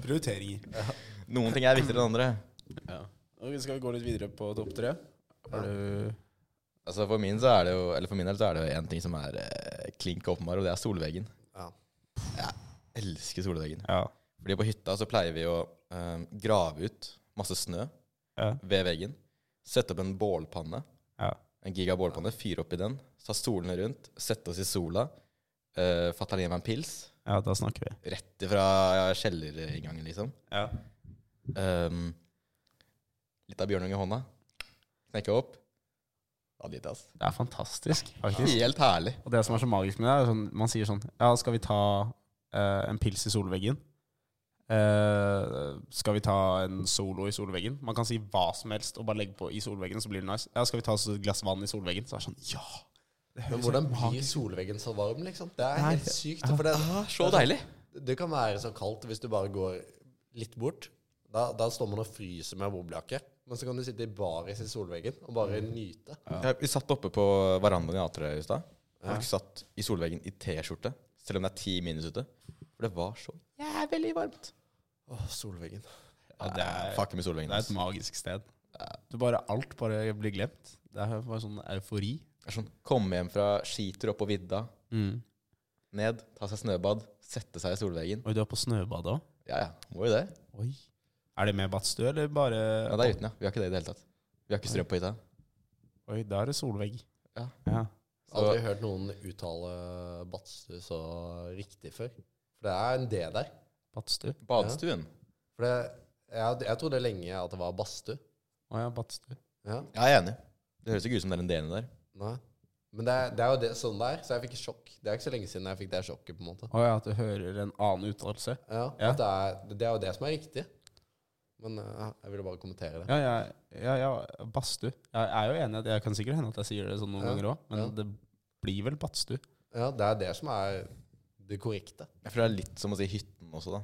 Speaker 4: Prioriteringer.
Speaker 5: Noen ting er viktigere enn andre.
Speaker 4: Ja. Ok, skal vi gå litt videre på topp tre? Har du
Speaker 5: Altså For min så er det jo Eller for min del så er det jo én ting som er eh, klink åpenbar, og det er solveggen.
Speaker 1: Ja.
Speaker 5: Jeg elsker solveggen.
Speaker 4: Ja.
Speaker 5: Fordi på hytta så pleier vi å eh, grave ut masse snø
Speaker 4: Ja.
Speaker 5: ved veggen. Sette opp en bålpanne.
Speaker 4: Ja.
Speaker 5: En giga bålpanne. Fyre opp i den. Ta stolene rundt. Sette oss i sola. Uh, Fatter'n gir meg en pils.
Speaker 4: ja, da snakker vi.
Speaker 5: Rett ifra kjellerinngangen, liksom.
Speaker 4: Ja.
Speaker 5: Um, litt av bjørnung i hånda. Knekke opp. Ja, dit, ass.
Speaker 4: Det er fantastisk, faktisk.
Speaker 5: Helt herlig.
Speaker 4: Og det som er så magisk med det, er sånn, man sier sånn Ja, skal vi ta eh, en pils i solveggen? Eh, skal vi ta en solo i solveggen? Man kan si hva som helst og bare legge på i solveggen, så blir det nice. Ja, skal vi ta oss et glass vann i solveggen? Så er det sånn, ja! Det
Speaker 1: Men
Speaker 4: høres
Speaker 1: hvordan
Speaker 4: helt
Speaker 1: blir
Speaker 4: magisk ut.
Speaker 1: solveggen så varm, liksom? Det er
Speaker 4: Nei.
Speaker 1: helt sykt. For det,
Speaker 5: Ah, Så deilig.
Speaker 1: det kan være så kaldt hvis du bare går litt bort. Da, da står man og fryser med boblejakke. Men så kan du sitte i baris i solveggen og bare
Speaker 4: Mm.
Speaker 1: nyte.
Speaker 4: sånn,
Speaker 5: Ja, vi satt oppe på verandaen i Atrøy i stad. Folk satt i solveggen i T-skjorte, selv om det er ti minus ute. For det var så jævlig varmt.
Speaker 1: Åh, solveggen.
Speaker 4: Ja, det, er,
Speaker 5: Fuck med solveggen.
Speaker 4: det er
Speaker 5: ass.
Speaker 4: et magisk sted. Du bare, alt bare blir glemt. Det er bare sånn eufori.
Speaker 5: Det er sånn, Komme hjem fra skitur oppå vidda,
Speaker 4: Mm.
Speaker 5: ned, ta seg snøbad, sette seg i solveggen.
Speaker 4: Oi, du er på snøbadet òg?
Speaker 5: Ja ja, må jo det.
Speaker 4: Oi. Er det med badstue, eller bare
Speaker 5: Ja, det er uten, ja. Vi har ikke det i det hele tatt. Vi har ikke strøm på hytta.
Speaker 4: Oi, da er det solvegg.
Speaker 5: Ja.
Speaker 4: ja.
Speaker 5: Så
Speaker 1: Aldri hørt noen uttale Badstue så riktig før. For det er en D der.
Speaker 4: Badstue.
Speaker 5: badstuen.
Speaker 1: For det, jeg, jeg trodde lenge at det var badstue.
Speaker 4: Å ja, badstue.
Speaker 1: Ja.
Speaker 5: Ja, jeg er enig. Det høres ikke ut som det er en del der.
Speaker 1: Nei. Men det er, det er jo det, sånn det er, så jeg fikk sjokk. Det er ikke så lenge siden jeg fikk det sjokket. på en måte.
Speaker 4: Å ja, at du hører en annen uttalelse.
Speaker 1: Ja,
Speaker 4: Ja.
Speaker 1: at Det, er, det er jo det som er riktig. Men ja, jeg ville bare kommentere det.
Speaker 4: Ja, ja, ja, ja badstue. Jeg er jo enig, i at jeg kan sikkert hende at jeg sier det sånn noen
Speaker 1: Ja,
Speaker 4: ganger òg, men
Speaker 1: ja.
Speaker 4: det blir vel badstue.
Speaker 1: Ja, Det er det som er det korrekte.
Speaker 5: Jeg føler det er litt som å si hytten også, da.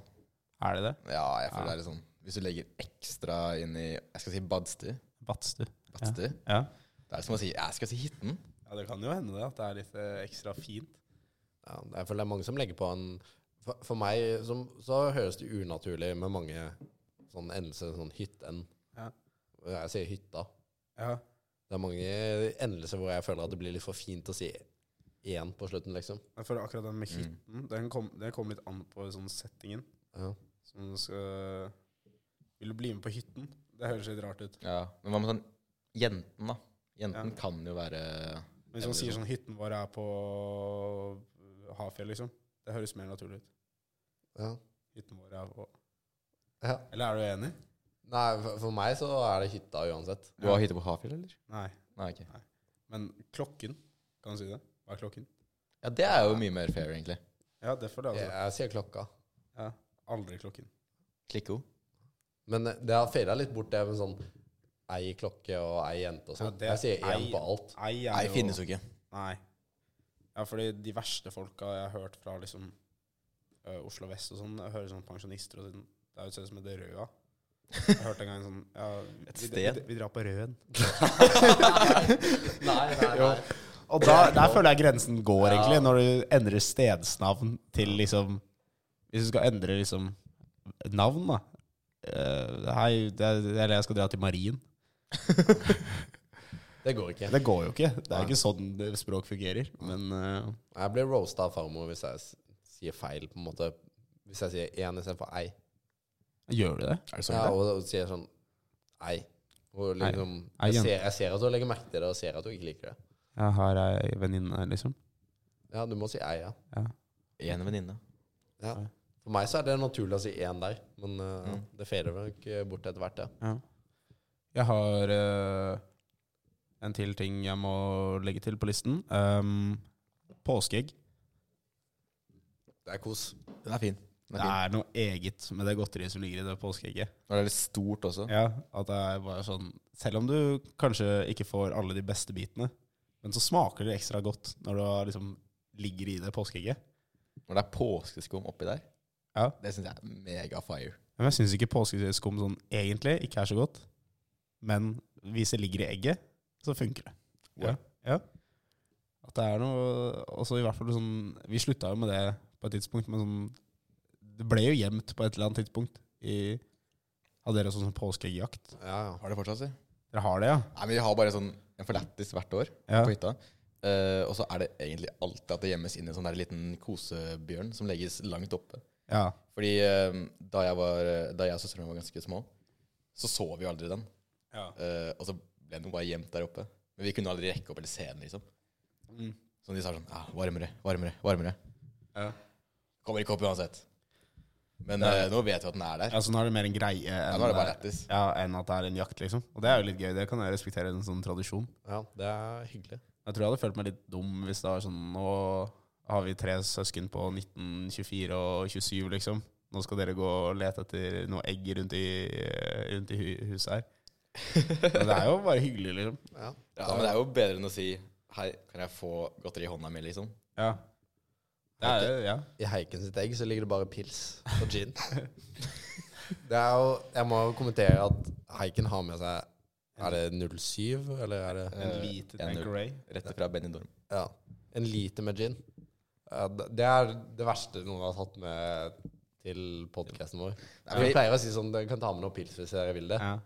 Speaker 4: Er det det?
Speaker 5: Ja, jeg
Speaker 4: Ja.
Speaker 5: føler det er litt sånn Hvis du legger ekstra inn i Jeg skal si badstue.
Speaker 4: Badstue.
Speaker 5: Badstue.
Speaker 4: Ja.
Speaker 5: Det er som å si Jeg skal si hytten.
Speaker 4: ja, det kan jo hende det, at det er litt eh, ekstra fint.
Speaker 1: Ja, jeg føler det er mange som legger på en For, for meg som, så høres det unaturlig med mange sånn endelser, sånn hytten.
Speaker 4: Ja.
Speaker 1: Jeg sier hytta.
Speaker 4: Ja.
Speaker 1: Det er mange endelser hvor jeg føler at det blir litt for fint å si én på slutten, liksom.
Speaker 4: Jeg føler akkurat den med hytten, den kom- det kommer litt an på sånn settingen.
Speaker 1: Ja.
Speaker 4: Som du skal Vil du bli med på hytten? Det høres litt rart ut.
Speaker 5: Ja, Men hva med sånn jenten, da? Jenten
Speaker 4: Ja.
Speaker 5: kan jo være
Speaker 4: Men hvis man sier sånn hytten vår er på Hafjell, liksom. Det høres mer naturlig ut.
Speaker 1: Ja.
Speaker 4: Hytten vår er på
Speaker 1: Ja.
Speaker 4: Eller er du enig?
Speaker 1: Nei, for, for meg så er det hytta uansett.
Speaker 5: Du har hytte på Hafjell, eller?
Speaker 4: Nei.
Speaker 5: Nei, ok.
Speaker 4: Men klokken, kan du si det? Hva er klokken?
Speaker 5: Ja, det er jo mye mer fair, egentlig.
Speaker 4: Ja, det får du
Speaker 1: Jeg,
Speaker 4: altså.
Speaker 1: jeg sier klokka.
Speaker 4: Ja. Aldri klokken.
Speaker 5: Klikko.
Speaker 1: Men eh, det har fada litt bort, det med sånn ei klokke og ei jente og
Speaker 4: Ja,
Speaker 1: sånn.
Speaker 4: det-
Speaker 1: jeg sier én
Speaker 4: ei-
Speaker 1: på alt.
Speaker 4: Nei, er
Speaker 5: Nei,
Speaker 4: jo-
Speaker 5: finnes jo ikke.
Speaker 4: Nei. Ja, fordi de verste folka jeg har hørt fra liksom ø, Oslo vest og sånn, jeg hører sånn pensjonister og sånn Det er jo sånn som det røde. Jeg hørte en gang sånn ja,
Speaker 5: Et
Speaker 4: vi-
Speaker 5: sted?
Speaker 4: Vi, vi drar på Røen.
Speaker 1: Nei, nei, nei.
Speaker 4: Og da, der føler jeg grensen går, egentlig, når du endrer stedsnavn til liksom Hvis du skal endre liksom navn, da. Eh, hei, det er, eller jeg skal dra til Marien.
Speaker 1: Det går ikke.
Speaker 4: Det går jo ikke. Det er jo ikke sånn det- språk fungerer. Men eh,
Speaker 1: Jeg blir roasta av farmor hvis jeg s- sier feil, på en måte. Hvis jeg sier én istedenfor ei.
Speaker 4: gjør du det?
Speaker 5: Er det sånn?
Speaker 1: Ja,
Speaker 5: det er?
Speaker 1: og, og sier sånn ei. Og liksom,
Speaker 4: Ei
Speaker 1: jeg,
Speaker 4: jente.
Speaker 1: ser, jeg ser at hun legger merke til det, og ser at hun ikke liker det.
Speaker 4: Jeg har ei venninne, liksom.
Speaker 1: Ja, du må si ei, ja.
Speaker 5: En venninne.
Speaker 1: ja. For meg så er det naturlig å si én der, men eh, det fader vel ikke bort etter hvert, ja.
Speaker 4: Jeg har eh, en til ting jeg må legge til på listen. Um, påskeegg.
Speaker 1: Det er kos.
Speaker 5: Den er fin. Den
Speaker 4: Det
Speaker 5: er fin.
Speaker 4: er noe eget med det godteriet som ligger i det påskeegget.
Speaker 5: Og det er litt stort også.
Speaker 4: Ja, at det er bare sånn Selv om du kanskje ikke får alle de beste bitene, men så smaker det ekstra godt når du har liksom ligger i det påskeegget.
Speaker 5: Når det er påskeskum oppi der,
Speaker 4: Ja.
Speaker 5: det syns jeg er mega fire.
Speaker 4: Men jeg syns ikke påskeskum sånn egentlig ikke er så godt. Men hvis det ligger i egget, så funker det. Ja. ja. At det er noe Også i hvert fall sånn Vi slutta jo med det på et tidspunkt, men sånn Det ble jo gjemt på et eller annet tidspunkt. I, hadde dere også sånn påskeeggjakt?
Speaker 1: Ja, ja.
Speaker 5: Har det fortsatt, si?
Speaker 4: Dere har det, ja?
Speaker 5: Nei, men Vi har bare sånn en forlættis hvert år
Speaker 4: Ja.
Speaker 5: på hytta. Eh, og så er det egentlig alltid at det gjemmes inn en sånn der liten kosebjørn som legges langt oppe.
Speaker 4: Ja.
Speaker 5: Fordi eh, da, jeg var, eh, da jeg og søsteren min var ganske små, så så vi jo aldri den.
Speaker 4: Ja.
Speaker 5: Eh, og så ble den jo bare gjemt der oppe. Men vi kunne aldri rekke opp eller se den, liksom.
Speaker 1: Mm.
Speaker 5: Så de sa sånn ja, Varmere, varmere, varmere.
Speaker 4: Ja.
Speaker 5: Kommer ikke opp uansett. Men eh, nå vet vi at den er der.
Speaker 4: Altså nå er det mer en greie enn, eh,
Speaker 5: nå er det bare lættis.
Speaker 4: ja, enn at det er en jakt, liksom. Og det er jo litt gøy. Det kan jeg respektere en sånn tradisjon.
Speaker 1: ja det er hyggelig.
Speaker 4: Jeg tror jeg hadde følt meg litt dum hvis det var sånn Nå har vi tre søsken på 19, 24 og 27, liksom. Nå skal dere gå og lete etter noe egg rundt i, rundt i hu- huset her. Men det er jo bare hyggelig, liksom.
Speaker 1: Ja.
Speaker 5: Ja, men det er jo bedre enn å si Hei, kan jeg få godteri i hånda mi, liksom?
Speaker 4: Ja. Det er jo, ja.
Speaker 1: I Heiken sitt egg så ligger det bare pils og gin. Det er jo, jeg må jo kommentere at Heiken har med seg Er det 07, eller er det
Speaker 4: En
Speaker 5: Eh,
Speaker 4: liten
Speaker 5: en null.
Speaker 4: Anchorage.
Speaker 5: Rett fra Benny Dorm.
Speaker 1: Ja. En liter med gin. Ja, d- Det er det verste noen har tatt med til podkasten vår.
Speaker 5: Nei,
Speaker 1: Vi
Speaker 5: men-
Speaker 1: pleier å si sånn Dere kan ta med noe pils hvis dere vil det.
Speaker 4: Ja.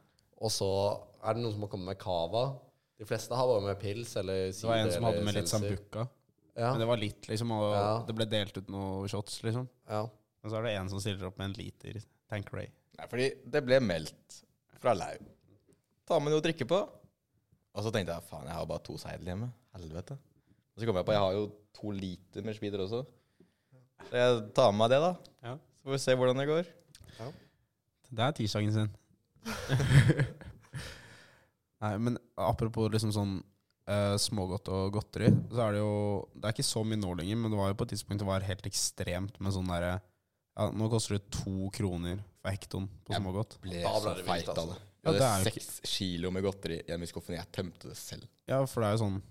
Speaker 1: Og så er det noen som har kommet med cava. De fleste har bare med pils eller
Speaker 4: Det
Speaker 1: sider.
Speaker 4: var en som hadde
Speaker 1: eller
Speaker 4: med litt
Speaker 1: seltzer.
Speaker 4: sambuca.
Speaker 1: Ja,
Speaker 4: Men det var litt, liksom. Og
Speaker 1: Ja.
Speaker 4: det ble delt ut noen shots, liksom.
Speaker 1: ja.
Speaker 4: Men så er det en som stiller opp med en liter Tanqueray.
Speaker 5: Nei, fordi det ble meldt fra Lau. Ta med noe å drikke på. Og så tenkte jeg faen, jeg har bare to seidel hjemme. Helvete. Og så kom jeg på jeg har jo to liter med speeder også. Så jeg tar med meg det, da.
Speaker 4: Ja.
Speaker 5: Så får vi se hvordan det går.
Speaker 4: Det er tirsdagen sin. Nei, men apropos liksom sånn eh, smågodt og godteri, så er det jo Det er ikke så mye nå lenger, men det var jo på et tidspunkt det var helt ekstremt med sånn derre ja, Nå koster det to kroner for hekton på smågodt.
Speaker 5: Ble
Speaker 1: Da ble
Speaker 5: så
Speaker 1: det vilt,
Speaker 5: feit
Speaker 1: altså.
Speaker 5: av det.
Speaker 4: Ja,
Speaker 5: Jeg
Speaker 4: det er jo
Speaker 5: hadde seks kilo med godteri hjemme i skuffen, og jeg tømte det selv.
Speaker 4: Ja, for det er jo sånn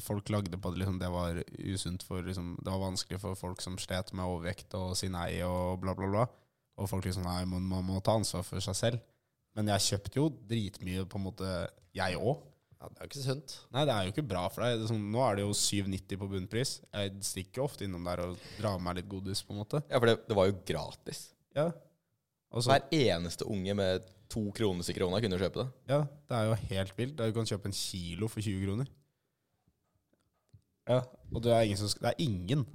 Speaker 4: Folk lagde på at liksom, det var usunt for liksom, Det var vanskelig for folk som slet med overvekt og si nei og bla, bla, bla. Og folk liksom Nei, man, man må ta ansvar for seg selv. Men jeg kjøpte jo dritmye, på en måte, jeg òg.
Speaker 1: ja, det er jo ikke sunt.
Speaker 4: Nei, det er jo ikke bra for deg. Det er sånn, nå er det jo 7,90 på bunnpris. Jeg stikker ofte innom der og drar med meg litt godis, på en måte.
Speaker 5: Ja, for det, det var jo gratis.
Speaker 4: Ja. Og så,
Speaker 5: Hver eneste unge med to kroner i krona kunne kjøpe det.
Speaker 4: ja, det er jo helt vilt. Du kan kjøpe en kilo for 20 kroner. Ja, og det er ingen som skal Det er ingen.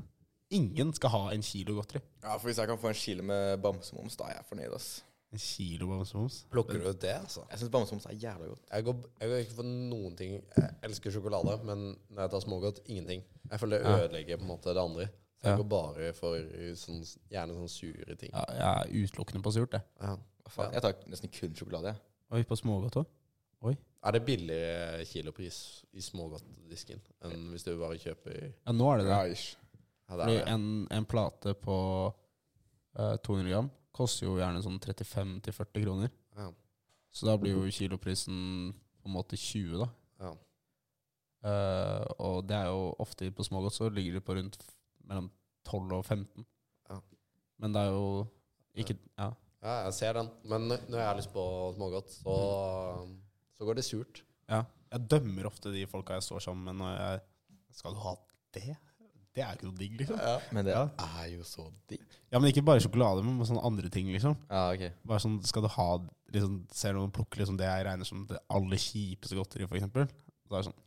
Speaker 4: Ingen skal ha en kilo godteri.
Speaker 5: Ja, for hvis jeg kan få en kile med bamsemums, da er jeg fornøyd, ass.
Speaker 4: En kilo bamsemums.
Speaker 1: Plukker du ut det, altså?
Speaker 5: Jeg syns bamsemums er jævla godt.
Speaker 1: Jeg går, jeg går ikke for noen ting. Jeg elsker sjokolade, men når jeg tar smågodt, ingenting. Jeg føler det ødelegger på en måte det andre. Så jeg
Speaker 4: Ja.
Speaker 1: går bare for sånn, gjerne sånn sure ting.
Speaker 4: Ja, jeg er utelukkende på surt, jeg.
Speaker 1: Ja.
Speaker 5: Hva Faen, Jeg tar nesten kun sjokolade, jeg.
Speaker 4: Oi, på smågodt òg?
Speaker 1: Er det billigere kilopris i smågodtdisken enn hvis du bare kjøper
Speaker 4: Ja, nå er det det.
Speaker 5: ish.
Speaker 1: ja, det
Speaker 4: Fordi
Speaker 1: er, det.
Speaker 4: en, en plate på eh, 200 gram koster jo gjerne sånn 35-40 kroner.
Speaker 1: Ja.
Speaker 4: Så da blir jo kiloprisen på en måte 20, da.
Speaker 1: Mhm. Ja.
Speaker 4: Eh, og det er jo ofte på smågodt så ligger det på rundt f- mellom 12 og 15.
Speaker 1: Ja.
Speaker 4: Men det er jo ikke Ja.
Speaker 1: ja, jeg ser den. Men når når jeg har lyst på smågodt, så, så går det surt.
Speaker 4: ja. Jeg dømmer ofte de folka jeg står sammen med, når jeg Skal du ha det? Det er jo ikke noe digg, liksom.
Speaker 1: Ja.
Speaker 5: Men det
Speaker 4: Ja.
Speaker 5: er jo så digg.
Speaker 4: Ja, men ikke bare sjokolade, men sånne andre ting, liksom.
Speaker 5: Ja, ok.
Speaker 4: Bare sånn, skal du ha liksom, Ser du noen plukke liksom, det jeg regner som det aller kjipeste godteriet, for eksempel? Da er det sånn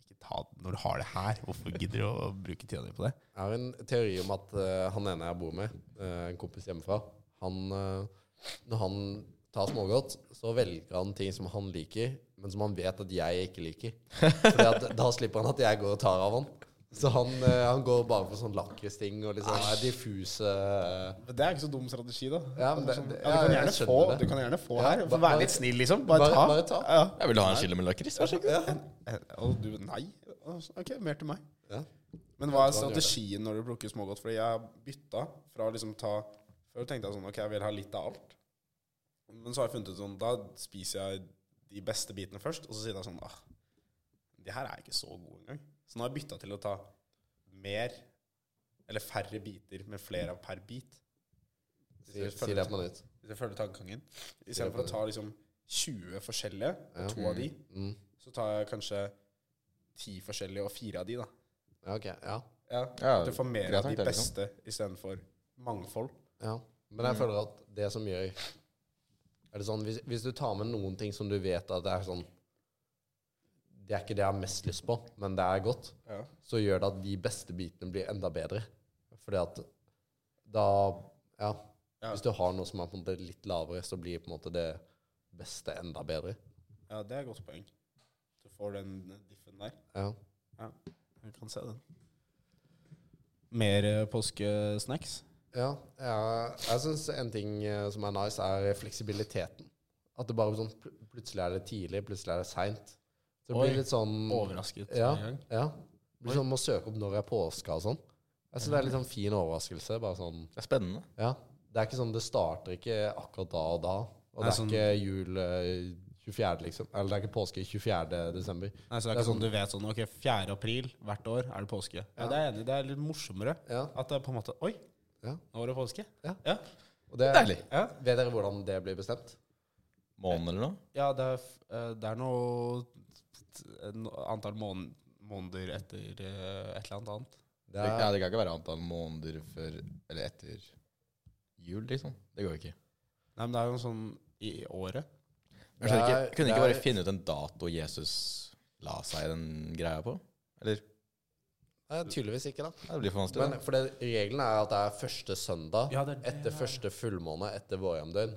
Speaker 4: Ikke ta det når du har det her. Hvorfor gidder du å bruke tida di på det?
Speaker 1: Jeg har en teori om at eh, han ene jeg bor med, eh, en kompis hjemmefra, han eh, Når han tar smågodt, så velger han ting som han liker, men som han vet at jeg ikke liker. Fordi at da slipper han at jeg går og tar av han. Så han, eh, han går bare for sånn lakristing og litt sånn eh, diffuse eh,
Speaker 4: Men Det er ikke så dum strategi, da. sånn,
Speaker 1: Ja, men det- det-
Speaker 4: Ja, du, kan
Speaker 1: ja, jeg
Speaker 4: gjerne
Speaker 1: skjønner
Speaker 4: få,
Speaker 1: det.
Speaker 4: du kan gjerne få
Speaker 1: Ja,
Speaker 4: her.
Speaker 1: ba-
Speaker 4: Få være
Speaker 1: bare-
Speaker 4: litt snill, liksom. Bare,
Speaker 1: bare-
Speaker 4: ta.
Speaker 1: bare ta.
Speaker 4: Ja.
Speaker 5: Jeg vil ha en kile med lakris, vær så god.
Speaker 4: Eh, Og du Nei. Altså, Ok, mer til meg.
Speaker 1: Ja.
Speaker 4: Men hva er
Speaker 1: Kan gjøre det.
Speaker 4: strategien når du plukker smågodt? Fordi jeg har bytta fra å liksom ta Før tenkte jeg sånn Ok, jeg vil ha litt av alt. Men så har jeg funnet ut sånn Da spiser jeg de beste bitene først, og så sier jeg sånn ah, De her er ikke så gode engang. Så nå har jeg bytta til å ta mer eller færre biter, men flere av per bit. Hvis
Speaker 1: Si,
Speaker 4: jeg
Speaker 1: si
Speaker 4: følger-
Speaker 1: det på nytt.
Speaker 4: hvis jeg følger tankegangen. Istedenfor å ta liksom 20 forskjellige,
Speaker 1: Ja.
Speaker 4: og to av de,
Speaker 1: Mm.
Speaker 4: så tar jeg kanskje 10 forskjellige og fire av de, da.
Speaker 1: Ja, ok. Ja.
Speaker 4: Ja,
Speaker 5: Ja,
Speaker 4: At du får mer
Speaker 5: greit
Speaker 4: av de
Speaker 5: tanke, liksom.
Speaker 4: beste istedenfor mangfold.
Speaker 1: Ja. Men
Speaker 4: Mm.
Speaker 1: jeg føler at det som gjør Er det sånn, hvis, hvis du tar med noen ting som du vet at det er sånn Det er ikke det jeg har mest lyst på, men det er godt,
Speaker 4: Ja.
Speaker 1: så gjør det at de beste bitene blir enda bedre. Fordi at da Ja.
Speaker 4: Ja.
Speaker 1: Hvis du har noe som er på en måte litt lavere, så blir på en måte det beste enda bedre.
Speaker 4: Ja, det er et godt poeng. Du får den diffen der.
Speaker 1: Ja.
Speaker 4: Jeg kan se den. Mer eh, påskesnacks?
Speaker 1: Ja, ja jeg syns en ting eh, som er nice, er fleksibiliteten. At det bare sånn pl plutselig er det tidlig, plutselig er det seint. Så det
Speaker 4: Oi.
Speaker 1: blir litt sånn
Speaker 4: Overrasket.
Speaker 1: Ja.
Speaker 4: en gang.
Speaker 1: ja. Blir sånn, må søke opp når det er påske og sånn. Jeg synes Det er litt sånn fin overraskelse. Bare sånn,
Speaker 5: Det er spennende.
Speaker 1: ja. Det er ikke sånn, det starter ikke akkurat da og da. Og
Speaker 4: Nei,
Speaker 1: det er
Speaker 4: sånn-
Speaker 1: ikke jul eh, 24., liksom. Eller det er ikke påske 24. desember.
Speaker 4: Nei, så det er ikke sånn du vet sånn Ok, 4. april hvert år er det påske. Ja, det er jeg enig. i. Det er litt morsommere.
Speaker 1: Ja.
Speaker 4: At det er på en måte Oi,
Speaker 1: Ja.
Speaker 4: nå var det påske.
Speaker 1: Ja.
Speaker 4: ja.
Speaker 1: Og det,
Speaker 5: Deilig.
Speaker 4: ja.
Speaker 1: Vet dere hvordan det blir bestemt?
Speaker 5: Måned eller noe?
Speaker 4: Ja, det er, f- eh, det er noe t- eh, no- antall mån måneder etter eh, et eller annet annet.
Speaker 1: Det
Speaker 5: Det,
Speaker 1: er,
Speaker 5: ja, det kan ikke være antall måneder før eller etter jul, liksom. Det går jo ikke.
Speaker 4: Nei, men det er jo sånn i året.
Speaker 5: Jeg skjønner
Speaker 1: Det
Speaker 5: ikke.
Speaker 1: er-
Speaker 5: Kunne
Speaker 1: det
Speaker 5: ikke bare
Speaker 1: er-
Speaker 5: finne ut en dato Jesus la seg den greia på? Eller?
Speaker 1: Nei, tydeligvis ikke, da.
Speaker 5: Ja, det blir for vanskelig.
Speaker 1: Men for det, regelen er at det er første søndag
Speaker 4: Ja, det er det.
Speaker 1: etter første fullmåne etter vårjamdøgn.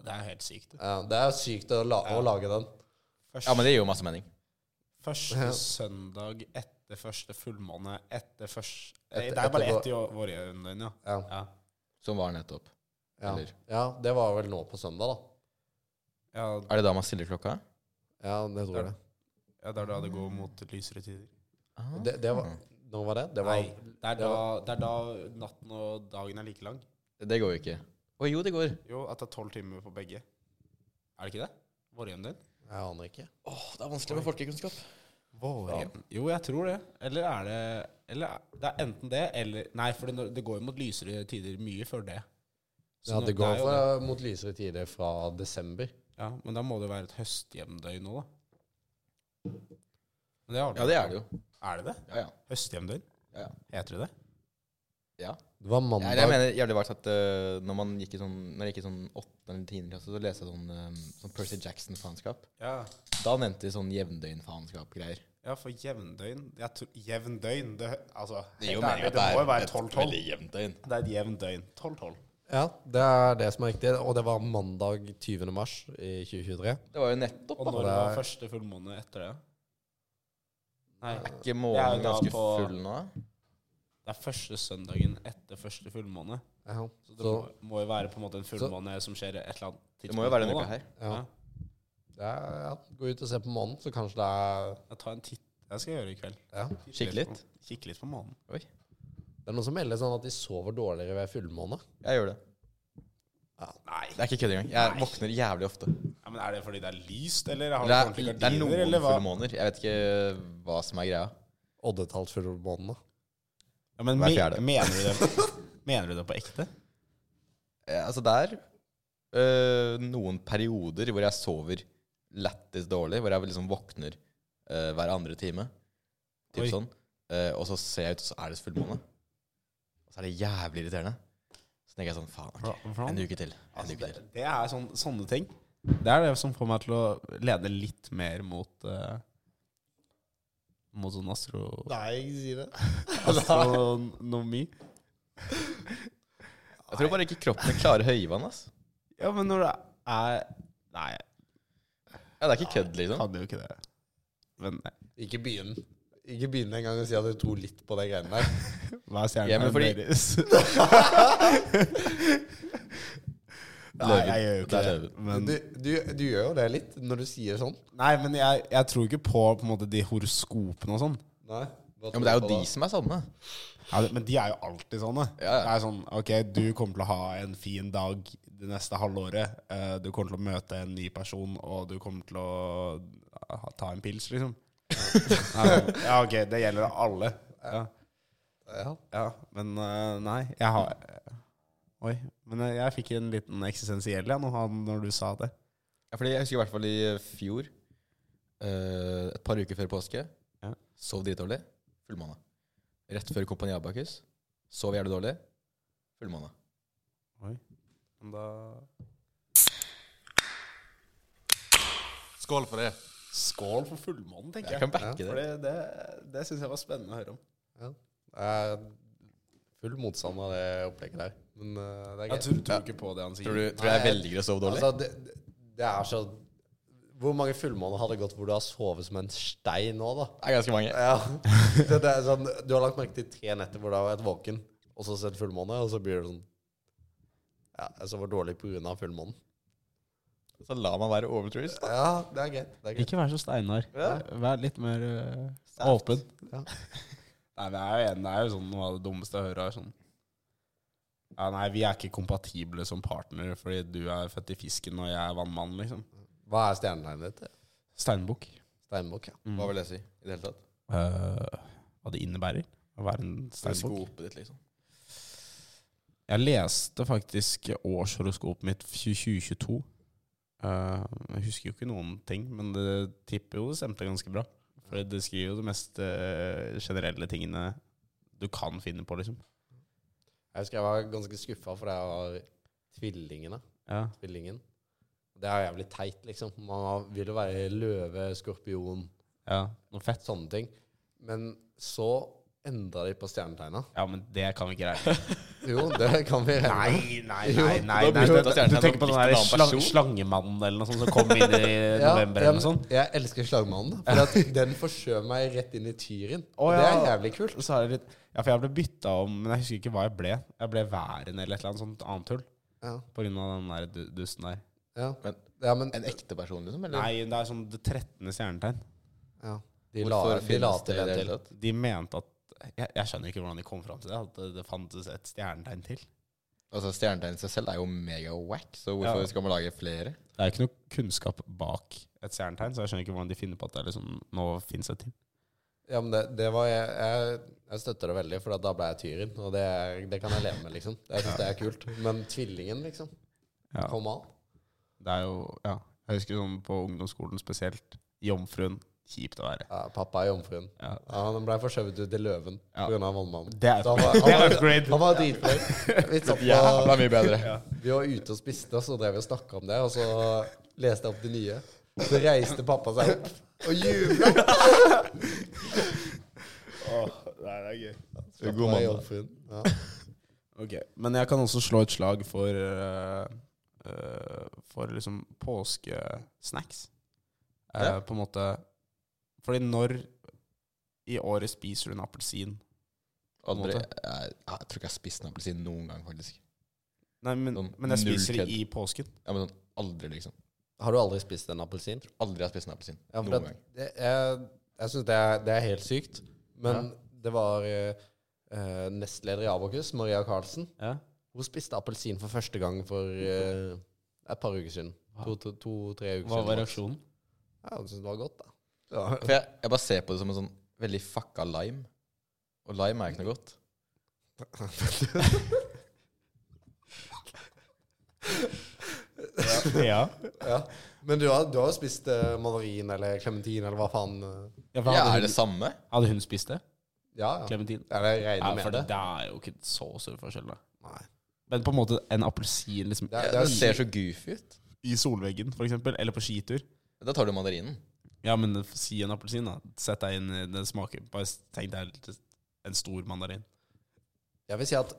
Speaker 4: Det er helt sykt.
Speaker 1: Ja, det er jo sykt å, la, å lage den.
Speaker 5: da. Ja, men det gir jo masse mening.
Speaker 4: Første søndag etter første fullmåne etter første Nei,
Speaker 1: Etter-
Speaker 4: Det er bare
Speaker 1: etter
Speaker 4: ett i å- våre øyne, ja.
Speaker 1: Ja.
Speaker 4: ja.
Speaker 5: Som var nettopp.
Speaker 1: Ja.
Speaker 5: Eller?
Speaker 1: ja, det var vel nå på søndag, da.
Speaker 4: Ja,
Speaker 5: Er det da man stiller klokka?
Speaker 1: Ja, det tror jeg.
Speaker 4: ja, det er da det går mot lysere tider. Mm.
Speaker 1: Det, det
Speaker 5: Mm.
Speaker 1: var, når var det? Det var
Speaker 4: Nei, det er, da, det er da natten og dagen er like lang.
Speaker 5: Det går jo ikke. Å jo, det går.
Speaker 4: Jo, at det er tolv timer på begge. Er det ikke det? Vårjevndøgn?
Speaker 1: Jeg aner ikke.
Speaker 5: Åh, det er vanskelig med folkekunnskap.
Speaker 4: Vårjevndøgn? Jo, jeg tror det. Eller er det eller, er- Det er enten det eller Nei, for det, når- det går jo mot lysere tider mye før det. Så
Speaker 1: Ja,
Speaker 4: nå-
Speaker 1: det går
Speaker 4: er jo
Speaker 1: fra,
Speaker 4: det.
Speaker 1: mot lysere tider fra desember.
Speaker 4: Ja, men da må det jo være et høstjevndøgn nå, da. Men det har
Speaker 5: Ja, det er det jo.
Speaker 4: Er det det?
Speaker 5: Ja, ja.
Speaker 4: Høstjevndøgn?
Speaker 5: ja, ja.
Speaker 4: Heter det det?
Speaker 5: ja.
Speaker 1: Det var
Speaker 5: Ja,
Speaker 1: mandag.
Speaker 5: jeg mener jævlig vart at eh, når man gikk i sånn Når jeg gikk i sånn 8. eller 10. klasse, så leste jeg sånn, eh, sånn Percy Jackson-faenskap.
Speaker 4: Ja.
Speaker 5: Da nevnte de sånn jevndøgnfaenskap-greier.
Speaker 4: Ja, for jevndøgn jeg tror, Jevndøgn, det, altså,
Speaker 5: Det gir jo
Speaker 4: helt
Speaker 5: mening
Speaker 4: ærlig,
Speaker 5: at
Speaker 4: det
Speaker 5: det
Speaker 4: må jo
Speaker 5: er
Speaker 4: være
Speaker 5: et
Speaker 4: 12-12.
Speaker 5: veldig jevnt døgn.
Speaker 4: Det er et jevnt døgn. 12-12.
Speaker 1: Ja, det er det som er riktig. Og det var mandag 20. mars i 2023.
Speaker 5: Det var jo nettopp,
Speaker 4: Og
Speaker 5: da.
Speaker 4: når det var første fullmåne etter det? Nei,
Speaker 5: Er ikke
Speaker 4: Det er jo
Speaker 5: månen
Speaker 4: da
Speaker 5: ganske
Speaker 4: på-
Speaker 5: full nå? da?
Speaker 4: det er første søndagen etter første fullmåne.
Speaker 1: Ja.
Speaker 4: Så det
Speaker 1: Så
Speaker 4: må, må jo være på en måte en fullmåne som skjer et eller annet tidspunkt.
Speaker 5: Det må jo være
Speaker 4: nå,
Speaker 5: denne uka
Speaker 4: da.
Speaker 5: her.
Speaker 1: ja. Det er, ja. Gå ut og se på månen, så kanskje det er
Speaker 4: Ja. Jeg tar en titt. Det skal jeg gjøre i kveld.
Speaker 1: ja.
Speaker 4: Titte
Speaker 5: Kikke
Speaker 4: på-
Speaker 5: litt?
Speaker 4: Kikke litt på månen.
Speaker 5: Oi.
Speaker 1: Det er noen som melder sånn at de sover dårligere ved fullmåne.
Speaker 5: Jeg gjør det.
Speaker 4: Nei.
Speaker 5: Det er ikke kødd engang. Jeg våkner jævlig ofte.
Speaker 4: Ja, men er det fordi det er lyst, eller har
Speaker 5: Det
Speaker 4: du
Speaker 5: er,
Speaker 4: ordentlig
Speaker 5: det er
Speaker 4: gardiner,
Speaker 5: noen
Speaker 4: eller hva?
Speaker 5: fullmåner. Jeg vet ikke hva som er greia.
Speaker 1: Oddetalt fullmåne.
Speaker 4: Ja, men
Speaker 5: Hver
Speaker 4: me
Speaker 5: fjerde.
Speaker 4: mener, du det, mener du det på ekte?
Speaker 5: Eh, Altså, det er øh, noen perioder hvor jeg sover lættis dårlig, hvor jeg liksom våkner øh, hver andre time. Typ
Speaker 4: Oi.
Speaker 5: sånn. Eh, og så ser jeg ut, og så er det fullmåne. Og så er det jævlig irriterende. Så tenker jeg sånn Faen, ok. En uke til. En
Speaker 4: Altså,
Speaker 5: uke
Speaker 4: det,
Speaker 5: til.
Speaker 4: det er sånn, sånne ting. Det er det som får meg til å lede litt mer mot eh, Mot sånn astro,
Speaker 1: Nei, ikke si det.
Speaker 4: astronomi.
Speaker 5: Jeg tror bare ikke kroppen klarer høyvann, ass.
Speaker 4: Ja, men når det er Nei,
Speaker 5: Ja, det er ikke kødd,
Speaker 4: jeg
Speaker 5: liksom.
Speaker 4: kan jo ikke det. Men eh, nei.
Speaker 1: Ikke begynn. Ikke begynn engang å si at du tror litt på de greiene der.
Speaker 4: hva er stjernen
Speaker 5: Ja, men fordi-
Speaker 4: deres? nei, jeg gjør jo
Speaker 5: Det
Speaker 4: ikke
Speaker 5: er
Speaker 4: det.
Speaker 5: løven.
Speaker 4: Men,
Speaker 1: Du, du, du gjør jo det litt når du sier sånn.
Speaker 4: nei, men jeg, jeg tror ikke på, på en måte, de horoskopene og sånn.
Speaker 1: Nei.
Speaker 5: Ja, men det er jo de som er sanne.
Speaker 4: Ja, men de er jo alltid sånne.
Speaker 5: Ja, ja.
Speaker 4: Det er sånn, ok, du kommer til å ha en fin dag det neste halvåret. Eh, Du kommer til å møte en ny person, og du kommer til å ha- ta en pils, liksom. Nei, sånn, ja, ok, det gjelder alle. Ja,
Speaker 1: Ja.
Speaker 4: ja men eh, nei, jeg har... eh, Oi, men eh, jeg, jeg fikk en liten eksistensiell ja, når, han, når du sa det.
Speaker 5: Ja, fordi jeg husker i hvert fall i fjor, eh, et par uker før påske,
Speaker 4: Ja.
Speaker 5: sov dritdårlig. Fullmåne. Rett før Kompani Abakus, sov jævlig dårlig. Fullmåne.
Speaker 4: Men da...
Speaker 1: Skål for det.
Speaker 4: Skål for fullmånen, tenker
Speaker 5: Jeg
Speaker 4: jeg.
Speaker 5: kan backe
Speaker 4: For
Speaker 5: det.
Speaker 4: det, det, det synes jeg var spennende å høre om.
Speaker 1: Jeg er full motstand av det opplegget der. Men eh, det er
Speaker 4: Jeg
Speaker 1: greit.
Speaker 4: tror, tror ikke på det han sier.
Speaker 5: Tror du, tror jeg
Speaker 1: Nei,
Speaker 5: velger å sove dårlig?
Speaker 1: Altså, det, det er så Hvor mange fullmåner har det gått hvor du har sovet som en stein nå, da?
Speaker 5: det er ganske mange.
Speaker 1: Ja. Det, det er sånn, du har lagt merke til tre netter hvor du har vært våken, og så sett fullmåne, og så blir det sånn Ja, jeg sover dårlig pga. fullmånen.
Speaker 5: Så la meg være overtroisk.
Speaker 1: Ja, det er greit. Det er greit.
Speaker 4: Ikke vær så steinar. Vær litt mer eh, åpen.
Speaker 1: Ja.
Speaker 4: Nei, men det er jo, en- det er jo sånn noe av det dummeste jeg hører. Er sånn. ja, nei, vi er ikke kompatible som partnere fordi du er født i fisken og jeg er vannmann, liksom.
Speaker 1: Hva er stjernetegnet ditt?
Speaker 4: Steinbukk.
Speaker 1: Steinbukk, ja.
Speaker 5: Hva vil det si i det hele tatt?
Speaker 4: Eh, hva det innebærer å være en steinbukk.
Speaker 5: Skopet ditt, liksom.
Speaker 4: Jeg leste faktisk årshoroskopet mitt 2022. Eh, jeg husker jo ikke noen ting, men det tipper jo det stemte ganske bra. For det skriver jo de mest eh, generelle tingene du kan finne på, liksom.
Speaker 1: Jeg husker jeg var ganske skuffa fordi jeg var tvillingene.
Speaker 4: Ja.
Speaker 1: Tvillingen. Det er jævlig teit, liksom. Man vil jo være løve, skorpion,
Speaker 4: Ja, noe fett.
Speaker 1: sånne ting. Men så endra de på stjernetegna.
Speaker 4: Ja, men det kan vi ikke regne med.
Speaker 1: Jo, det kan vi regne med.
Speaker 4: Nei, nei, nei. nei,
Speaker 5: da
Speaker 4: nei.
Speaker 5: blir
Speaker 4: Du,
Speaker 5: jo
Speaker 4: du
Speaker 5: stjernetegn
Speaker 4: tenker på
Speaker 5: en
Speaker 4: den der
Speaker 5: annen
Speaker 4: slang,
Speaker 5: person.
Speaker 4: slangemannen eller noe sånt som kom inn i
Speaker 1: Ja,
Speaker 4: november
Speaker 1: jeg-
Speaker 4: eller noe
Speaker 5: sånn?
Speaker 4: sånt?
Speaker 1: Jeg elsker slagmannen. For den forskjøv meg rett inn i tyren.
Speaker 4: Å,
Speaker 1: Og det er
Speaker 4: ja.
Speaker 1: jævlig kult.
Speaker 4: Så er det litt, ja, for jeg ble bytta om, men jeg husker ikke hva jeg ble. Jeg ble væren eller et eller annet sånt annet tull.
Speaker 1: Ja,
Speaker 4: På grunn av den der du- dusten der.
Speaker 1: ja.
Speaker 5: Men-
Speaker 1: ja men
Speaker 5: En ekte person, liksom? Eller?
Speaker 4: Nei, det er sånn det 13. stjernetegn.
Speaker 1: ja. De la,
Speaker 5: Hvorfor
Speaker 1: de la
Speaker 5: finnes
Speaker 1: til
Speaker 5: det i det
Speaker 1: en
Speaker 5: hele
Speaker 1: til.
Speaker 5: tatt?
Speaker 4: De mente at jeg, jeg skjønner ikke hvordan de kom fram til det. At det, det fantes et stjernetegn til.
Speaker 5: Altså, Stjernetegn i seg selv er jo mega-wack, så hvorfor
Speaker 4: Ja.
Speaker 5: skal man lage flere?
Speaker 4: Det er jo ikke noe kunnskap bak et stjernetegn, så jeg skjønner ikke hvordan de finner på at det er liksom, nå finnes et til.
Speaker 1: Ja, men det, det var jeg, jeg, jeg støtter det veldig, for da ble jeg tyren. Og det, er- det kan jeg leve med, liksom. Jeg synes det er kult. Men tvillingen, liksom.
Speaker 4: Ja.
Speaker 1: Kom an.
Speaker 4: Det er jo, ja Jeg husker sånn på ungdomsskolen spesielt Jomfruen, kjipt å være
Speaker 1: Ja, pappa er jomfruen.
Speaker 4: ja.
Speaker 1: Ja, han ble forskjøvet ut til løven
Speaker 4: Ja.
Speaker 1: pga. vannmannen.
Speaker 4: Det er
Speaker 1: Så han var- han var-
Speaker 4: upgrade. Det er upgrade.
Speaker 1: Han var dritflink. Vi, satt
Speaker 5: Jævla
Speaker 1: på-
Speaker 5: mye bedre.
Speaker 1: vi var ute og spiste, og så drev vi og snakka om det, og så leste jeg opp det nye. Så reiste pappa seg opp, Og jubla!
Speaker 6: Nei, det er gøy.
Speaker 1: God mandag. Ja.
Speaker 4: Ok, Men jeg kan også slå et slag for eh, eh, For liksom påskesnacks. Eh,
Speaker 5: Ja.
Speaker 4: På en måte Fordi når i året spiser du en appelsin?
Speaker 5: Aldri.
Speaker 4: måte.
Speaker 5: Jeg, jeg, tror ikke jeg har spist en appelsin noen gang, faktisk.
Speaker 4: Nei, men,
Speaker 5: Sånn
Speaker 4: men jeg
Speaker 5: null
Speaker 4: spiser
Speaker 5: kred.
Speaker 4: i påsken.
Speaker 5: Ja, men sånn, aldri, liksom.
Speaker 1: Har du aldri spist en appelsin?
Speaker 5: Aldri har jeg spist en appelsin.
Speaker 1: Ja, for
Speaker 5: noen
Speaker 1: det,
Speaker 5: gang.
Speaker 1: det, jeg jeg syns det, er- det er helt sykt. Men det var eh, eh, nestleder i Abakus, Maria Karlsen,
Speaker 4: Ja.
Speaker 1: hun spiste appelsin for første gang for eh, et par uker siden. To-tre to, tre uker
Speaker 4: Hva
Speaker 1: siden.
Speaker 4: var reaksjonen?
Speaker 1: Ja, Hun syntes det var godt, da. Ja.
Speaker 5: For jeg, jeg bare ser på det som en sånn veldig fucka lime. Og lime er ikke noe godt.
Speaker 4: Ja.
Speaker 1: Ja. Men du har, du har spist eh, mandarin eller klementin eller hva faen eh,
Speaker 4: for
Speaker 5: Ja,
Speaker 4: hadde,
Speaker 5: er det
Speaker 4: hun,
Speaker 5: samme?
Speaker 4: hadde hun spist det?
Speaker 1: Ja, ja.
Speaker 4: Clementin?
Speaker 1: Ja, det regner
Speaker 4: Ja,
Speaker 1: med
Speaker 4: for det,
Speaker 1: det.
Speaker 4: det er jo ikke så stor forskjell, da.
Speaker 1: Nei.
Speaker 4: Men på en måte en appelsin liksom,
Speaker 1: Det er-
Speaker 5: Ja, det ser så goofy ut.
Speaker 4: i solveggen, for eksempel, eller på skitur.
Speaker 5: Da tar du mandarinen.
Speaker 4: Ja, men si en appelsin, da. Sett deg inn i det smaker. Bare tenk deg litt- en stor mandarin.
Speaker 1: Jeg vil si at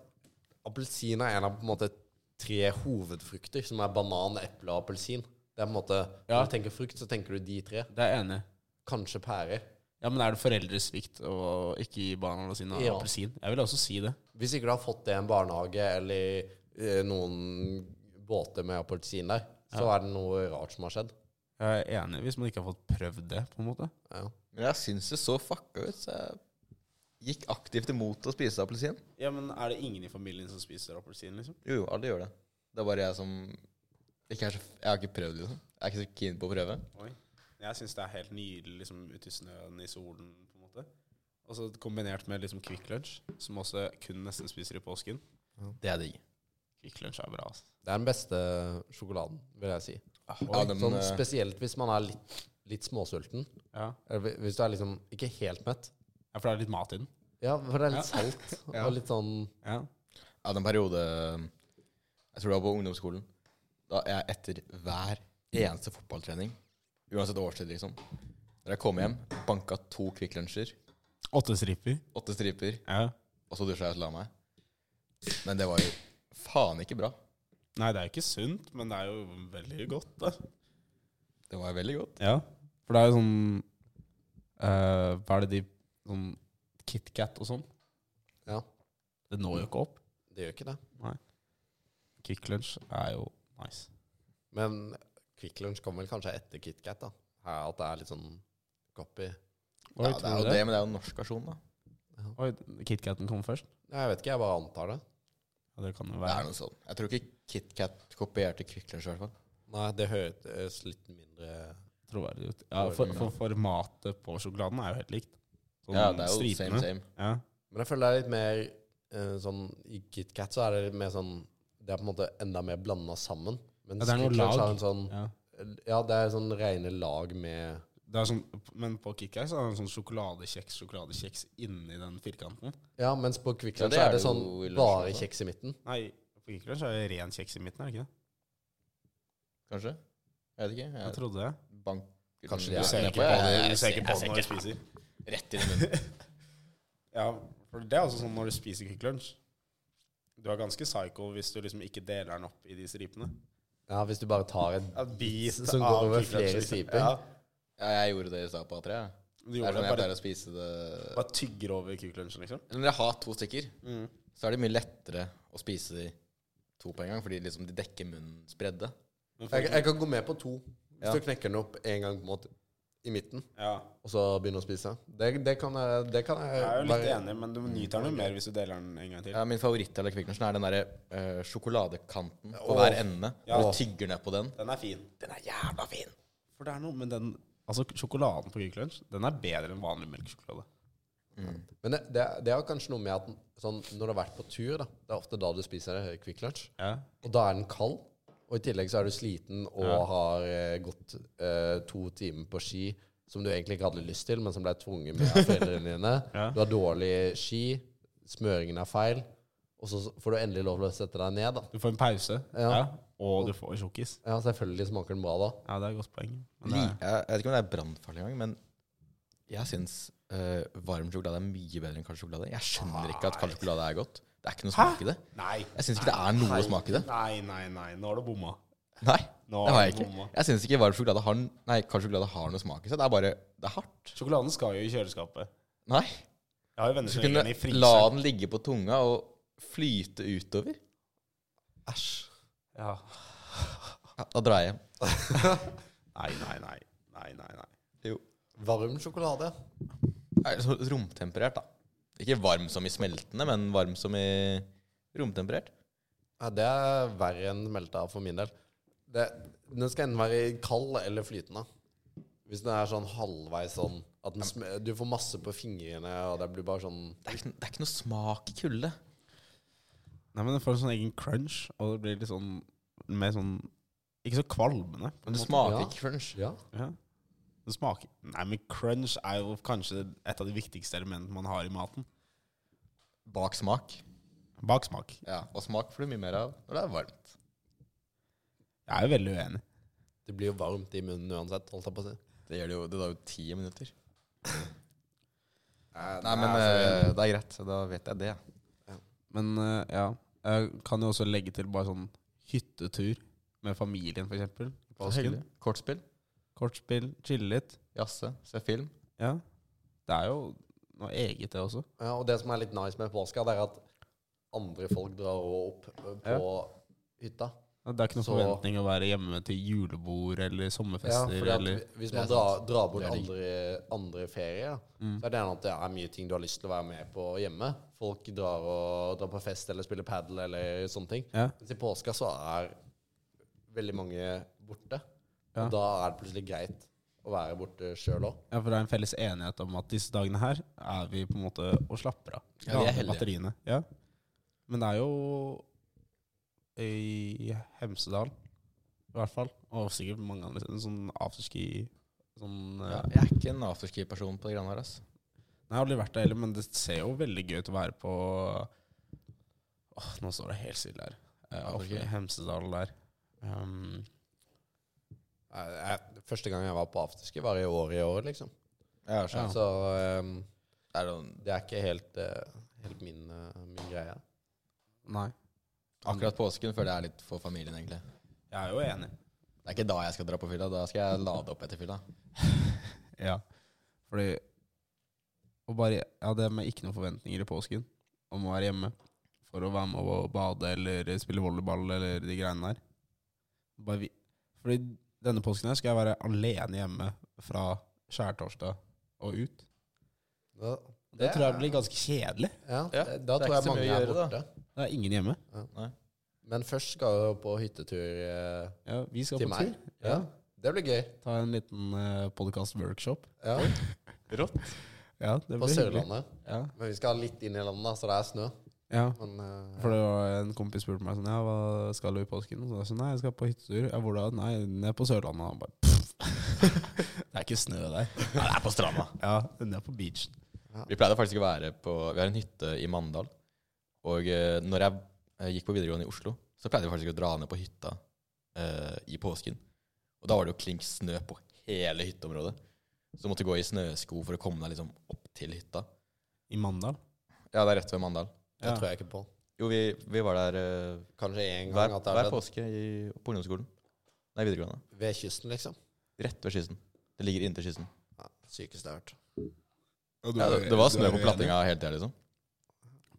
Speaker 1: appelsin er en av på en måte tre hovedfrukter, som er banan, eple og appelsin. Det er på en måte,
Speaker 4: Ja.
Speaker 1: Når du tenker frukt, så tenker du de tre.
Speaker 4: Det er jeg enig i.
Speaker 1: Kanskje pærer.
Speaker 4: Ja, men er det foreldresvikt å ikke gi barna sine
Speaker 1: Ja.
Speaker 4: appelsin? Jeg vil også si det.
Speaker 1: Hvis ikke du har fått det i en barnehage eller eh, noen båter med appelsin der, så er det noe rart som har skjedd.
Speaker 4: Jeg er enig hvis man ikke har fått prøvd det, på en måte.
Speaker 1: Ja.
Speaker 5: Men jeg syns det så fucka ut, så jeg gikk aktivt imot å spise appelsin.
Speaker 4: Ja, men er det ingen i familien som spiser appelsin, liksom?
Speaker 5: Jo, jo, alle gjør det. Det er bare jeg som ikke er så, Jeg har ikke prøvd, liksom. Jeg er ikke så keen på å prøve.
Speaker 4: Oi. Jeg syns det er helt nydelig liksom, ute i snøen, i solen, på en måte. Og så kombinert med liksom Quick Lunch, som også kun nesten spiser i påsken.
Speaker 5: Det er digg.
Speaker 4: Quick Lunch er bra, altså.
Speaker 1: Det er den beste sjokoladen, vil jeg si.
Speaker 5: Ja, den,
Speaker 1: sånn,
Speaker 5: eh,
Speaker 1: spesielt hvis man er litt, litt småsulten.
Speaker 4: Ja.
Speaker 1: Eller hvi- hvis du er liksom ikke helt mett.
Speaker 4: ja, for det er litt mat i den.
Speaker 1: Ja, for det er litt salt
Speaker 4: Ja.
Speaker 1: og litt sånn
Speaker 4: Ja.
Speaker 5: Jeg hadde en periode um, Jeg tror det var på ungdomsskolen. Da jeg etter hver eneste fotballtrening, uansett årstid, liksom Når jeg kom hjem, banka to Kvikk Lunsjer,
Speaker 4: Åtte stripper.
Speaker 5: åtte striper,
Speaker 4: Ja.
Speaker 5: og så dusja jeg og la meg. Men det var jo faen ikke bra.
Speaker 4: Nei, det er jo ikke sunt, men det er jo veldig godt, da.
Speaker 5: Det var veldig godt.
Speaker 4: Ja, for det er jo sånn eh, Hva er det de Sånn KitKat og sånn.
Speaker 1: Ja,
Speaker 4: Det når jo ikke opp.
Speaker 1: det gjør ikke det.
Speaker 4: Quick Lunch er jo nice.
Speaker 1: Men Quick Lunch kommer vel kanskje etter KitKat, da. Her at det er litt sånn copy.
Speaker 4: Oi,
Speaker 5: ja, det er jo det, men det er jo en norsk versjon, da.
Speaker 4: Oi, KitKaten kom først?
Speaker 1: Ja, Jeg vet ikke, jeg bare antar det.
Speaker 4: Ja, det kan jo
Speaker 5: Det er
Speaker 4: være.
Speaker 5: noe sånn. Jeg tror ikke KitKat kopierte Kvikk Lunsj, i hvert fall.
Speaker 1: Nei, det høres litt mindre
Speaker 4: Troverdig ut. Ja, for, for formatet på sjokoladen er jo helt likt. Sånn
Speaker 5: Ja, det er jo
Speaker 4: stripene.
Speaker 5: same, same.
Speaker 4: Ja.
Speaker 1: Men jeg føler det er litt mer eh, sånn I KitKat så er det litt mer sånn Det er på en måte enda mer blanda sammen. Mens
Speaker 4: Ja, det er noe
Speaker 1: Quick Lunch
Speaker 4: lag.
Speaker 1: har en sånn
Speaker 4: Ja.
Speaker 1: Ja, det er sånn rene lag med
Speaker 4: Det er sånn, men på KitKat så er det en sånn sjokoladekjeks, sjokoladekjeks inni den firkanten.
Speaker 1: Ja, mens på Quick
Speaker 5: Ja,
Speaker 1: Lunch
Speaker 5: det
Speaker 1: så
Speaker 5: er
Speaker 1: er det
Speaker 5: det jo
Speaker 1: sånn
Speaker 5: i lunsjen
Speaker 1: bare
Speaker 5: også.
Speaker 1: kjeks i midten.
Speaker 4: Nei, på KitKat så er det ren kjeks i midten, er det ikke det?
Speaker 5: Kanskje? Jeg vet ikke.
Speaker 4: Jeg
Speaker 5: Jeg
Speaker 4: trodde det.
Speaker 5: bank...
Speaker 1: Kanskje
Speaker 5: Ja,
Speaker 1: du
Speaker 4: ser
Speaker 5: jeg-
Speaker 4: ikke på det,
Speaker 5: jeg-
Speaker 4: du
Speaker 5: jeg
Speaker 4: ser ikke på
Speaker 5: jeg
Speaker 4: det når du spiser.
Speaker 5: Rett i munnen.
Speaker 4: Ja, for det er også sånn når du spiser Quick Lunch. Du er ganske psycho hvis du liksom ikke deler den opp i de stripene.
Speaker 1: Ja, hvis du bare tar en
Speaker 4: En bit
Speaker 1: Som går
Speaker 4: av
Speaker 1: over
Speaker 4: Quick Lunch,
Speaker 1: flere
Speaker 4: liksom.
Speaker 1: striper.
Speaker 4: Ja,
Speaker 5: Ja, jeg gjorde det i stad på A3. jeg.
Speaker 4: du
Speaker 5: Det er
Speaker 4: gjorde det
Speaker 5: sånn jeg
Speaker 4: bare,
Speaker 5: pleier å spise det
Speaker 4: bare tygger over Quick Lunch, liksom.
Speaker 5: Når jeg har to stykker, så er det mye lettere å spise de to på en gang, fordi liksom de dekker munnens bredde.
Speaker 1: jeg, jeg kan gå med på to. Hvis
Speaker 5: Ja.
Speaker 1: du knekker den opp en gang på en måte i midten,
Speaker 4: Ja,
Speaker 1: og så begynner å spise. Det, det kan jeg, det kan jeg,
Speaker 4: jeg er jo litt
Speaker 1: bare-
Speaker 4: enig, men du nyter den jo mer hvis du deler den en gang til.
Speaker 5: Ja, min favoritt av Kvikk Lunsjen er den derre eh, sjokoladekanten på hver ende.
Speaker 4: Ja.
Speaker 5: Du tygger ned på den.
Speaker 4: Den er fin.
Speaker 5: Den er jævla fin!
Speaker 4: For det er noe med den Altså, sjokoladen på Quick Lunch, den er bedre enn vanlig melkesjokolade.
Speaker 1: Men det, det, det har kanskje noe med at den- sånn, når du har vært på tur, da, det er ofte da du spiser det, Quick Lunch,
Speaker 4: Ja.
Speaker 1: og da er den kald. Og i tillegg så er du sliten og har eh, gått eh, to timer på ski som du egentlig ikke hadde lyst til, men som ble tvunget med av foreldrene dine.
Speaker 4: Ja.
Speaker 1: Du har dårlig ski, smøringen er feil, Og så får du endelig lov til å sette deg ned, da.
Speaker 4: Du får en pause,
Speaker 1: Ja.
Speaker 4: og du får sjokkis.
Speaker 1: Ja, selvfølgelig smaker den bra da.
Speaker 4: Ja, det er et godt poeng. Men det er,
Speaker 5: Li- Jeg jeg vet ikke om det er brannfarlig engang, men jeg syns eh, varm sjokolade er mye bedre enn kald sjokolade. Jeg skjønner ikke at kald sjokolade er godt. Det er ikke noe smak i det.
Speaker 4: nei,
Speaker 5: Jeg syns ikke det er noe smak i det.
Speaker 4: nei, nei, nei. Nå har du bomma.
Speaker 5: Nei,
Speaker 4: Nå
Speaker 5: det har jeg
Speaker 4: er det
Speaker 5: ikke.
Speaker 4: bomma.
Speaker 5: Jeg syns ikke varm sjokolade har Nei, kald sjokolade har noe smak i seg. Det er bare Det er hardt.
Speaker 4: Sjokoladen skal jo i kjøleskapet.
Speaker 5: Nei.
Speaker 4: Jeg har jo venner
Speaker 5: Du
Speaker 4: som legger
Speaker 5: kunne
Speaker 4: den i
Speaker 5: la
Speaker 4: fryseren.
Speaker 5: den ligge på tunga og flyte utover.
Speaker 1: Æsj.
Speaker 4: Ja.
Speaker 5: Ja, da drar jeg hjem.
Speaker 4: Nei, nei, nei. Nei, nei, nei.
Speaker 5: Jo.
Speaker 1: Varm sjokolade.
Speaker 5: Nei, så Romtemperert, da. Ikke varm som i smeltende, men varm som i romtemperert.
Speaker 1: Ja, det er verre enn melta for min del. Det, den skal enten være kald eller flytende. Hvis den er sånn halvveis sånn at den sm Du får masse på fingrene, og det blir bare sånn
Speaker 5: Det er ikke, det er ikke noe smak i kulde.
Speaker 4: Nei, men den får en sånn egen crunch, og det blir litt sånn mer sånn Ikke så kvalmende.
Speaker 5: Men det smaker
Speaker 1: Ja.
Speaker 5: ikke Ah, crunch.
Speaker 1: Ja.
Speaker 4: Ja. Det smaker Nei, men crunch er jo kanskje et av de viktigste elementene man har i maten.
Speaker 5: Bak smak.
Speaker 4: Bak smak.
Speaker 5: Ja, og smak får du mye mer av når det er varmt.
Speaker 4: Jeg er jo veldig uenig.
Speaker 1: Det blir jo varmt i munnen uansett, holdt jeg på å si.
Speaker 5: Det gjør det jo. Det tar jo ti minutter.
Speaker 1: Nei,
Speaker 5: Nei, men eh, det er greit. så Da vet jeg det.
Speaker 4: Men eh, ja, jeg kan jo også legge til bare sånn hyttetur med familien, for eksempel. i Påsken.
Speaker 5: Påsken. Kortspill.
Speaker 4: Kortspill, chille litt.
Speaker 5: Jazze. Se film.
Speaker 4: Ja. Det er jo noe eget, det også.
Speaker 1: ja, og det som er litt nice med påska, det er at andre folk drar også opp eh, på hytta.
Speaker 4: Ja, Det er ikke noen
Speaker 1: Så-
Speaker 4: forventning å være hjemme til julebord eller
Speaker 1: Ja,
Speaker 4: sommerfester
Speaker 1: fordi
Speaker 4: eller
Speaker 1: at hvis man
Speaker 5: Det er
Speaker 1: drar, drar bort
Speaker 5: Det er digg.
Speaker 1: andre, andre ferier,
Speaker 5: Mm.
Speaker 1: så er det gjerne at det er mye ting du har lyst til å være med på hjemme. Folk drar, og, drar på fest eller spiller padel eller sånne ting.
Speaker 4: Ja.
Speaker 1: Mens i påska så er veldig mange borte.
Speaker 4: Ja.
Speaker 1: Og da er det plutselig greit å være borte sjøl òg.
Speaker 4: Ja, for det er en felles enighet om at disse dagene her er vi på en måte og slapper av.
Speaker 5: Ja, vi er heldige.
Speaker 4: Batteriene. Ja. Men det er jo i Hemsedal, i hvert fall, og sikkert mange andre steder, sånn afterski sånn, eh,
Speaker 5: Ja, jeg er ikke en afterski-person på det greiene her. ass.
Speaker 4: Nei, jeg har aldri vært der heller, men det ser jo veldig gøy ut å være på Åh, Nå står det helt stille her. Eh,
Speaker 5: Afterski.
Speaker 4: Oppe i Hemsedal der. Um,
Speaker 1: Første gang jeg var på afterski, var i år i år, liksom.
Speaker 5: Jeg er sånn.
Speaker 1: Så ehm,
Speaker 5: Det er noen,
Speaker 1: det er ikke helt, eh, helt min, eh, min greie.
Speaker 4: nei.
Speaker 5: akkurat påsken føler jeg er litt for familien, egentlig.
Speaker 4: Jeg er jo enig.
Speaker 5: Det er ikke da jeg skal dra på fylla. Da skal jeg lade opp etter fylla.
Speaker 4: Ja, fordi Og bare Ja, det med ikke noen forventninger i påsken om å være hjemme for å være med og bade eller spille volleyball eller de greiene der. Bare vi, fordi denne påsken her skal jeg være alene hjemme fra skjærtorsdag og ut.
Speaker 1: Da,
Speaker 4: Det tror jeg blir ganske kjedelig.
Speaker 1: ja,
Speaker 5: Ja,
Speaker 1: det- da tror
Speaker 5: det er ikke
Speaker 1: jeg
Speaker 5: så mye
Speaker 1: mange
Speaker 5: å
Speaker 1: er
Speaker 5: gjøre, da.
Speaker 1: borte.
Speaker 4: Det er ingen hjemme.
Speaker 1: Men først skal vi jo på hyttetur eh,
Speaker 4: Ja, vi skal
Speaker 1: til
Speaker 4: på
Speaker 1: meg.
Speaker 4: tur.
Speaker 1: Ja. Det blir gøy.
Speaker 4: Ta en liten uh, podkast-workshop.
Speaker 1: Ja,
Speaker 4: Rått. Ja, det
Speaker 1: på
Speaker 4: blir hyggelig.
Speaker 1: Sørlandet.
Speaker 4: Ja.
Speaker 1: Men vi skal litt inn i landet, da, så det er snø.
Speaker 4: ja.
Speaker 1: Men eh,
Speaker 4: For det var en kompis spurte meg sånn, ja, hva skal du i påsken? Og så sa jeg sånn, nei, jeg skal på hyttetur. Ja, hvor da? Nei, ned på Sørlandet. Og Han bare, pff. det er ikke snø der.
Speaker 5: Nei, det er på stranda.
Speaker 4: Ja, ned på beachen.
Speaker 5: Vi pleide faktisk å være på Vi har en hytte i Mandal. Og eh, når jeg eh, gikk på videregående i Oslo, så pleide vi faktisk å dra ned på hytta eh, i påsken. Og da var det jo klink snø på hele hytteområdet. Så du måtte gå i snøsko for å komme deg liksom opp til hytta.
Speaker 4: I Mandal.
Speaker 5: Ja, det er rett ved Mandal.
Speaker 1: det
Speaker 4: Ja.
Speaker 1: tror jeg ikke på.
Speaker 5: Jo, vi, vi var der eh,
Speaker 1: Kanskje én gang
Speaker 5: hver,
Speaker 1: at det er
Speaker 5: hver
Speaker 1: ved,
Speaker 5: påske i, på ungdomsskolen. Nei, videregående.
Speaker 1: ved kysten, liksom.
Speaker 5: Rett ved kysten. Det ligger inntil kysten.
Speaker 1: Ja, Sykeste jeg har hørt.
Speaker 5: Ja, det, det var snø på plattinga hele tida, liksom.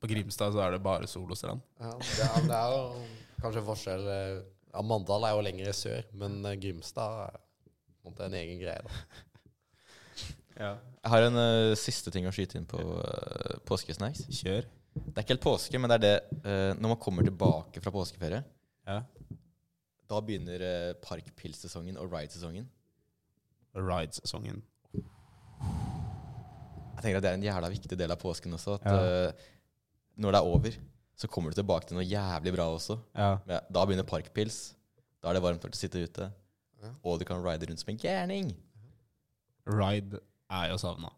Speaker 4: På Grimstad så er det bare sol og strand.
Speaker 1: Ja, det, er, det er jo kanskje forskjell eh, ja, Mandal er jo lenger i sør, men eh, Grimstad er på en måte en egen greie. da.
Speaker 5: Jeg har en eh, siste ting å skyte inn på eh, påskesnacks.
Speaker 4: Kjør.
Speaker 5: Det er ikke helt påske, men det er det eh, Når man kommer tilbake fra påskeferie,
Speaker 4: Ja.
Speaker 5: da begynner eh, parkpilsesongen og ridesesongen.
Speaker 4: Ride-sesongen.
Speaker 5: Jeg tenker at Det er en jævla viktig del av påsken også. At
Speaker 4: Ja.
Speaker 5: eh, når det er over, så kommer du tilbake til noe jævlig bra også.
Speaker 4: Ja.
Speaker 5: Men da begynner parkpils. Da er det varmt nok til å sitte ute.
Speaker 1: Ja.
Speaker 5: Og du kan ride rundt som en gærning.
Speaker 4: Ride er jo savna.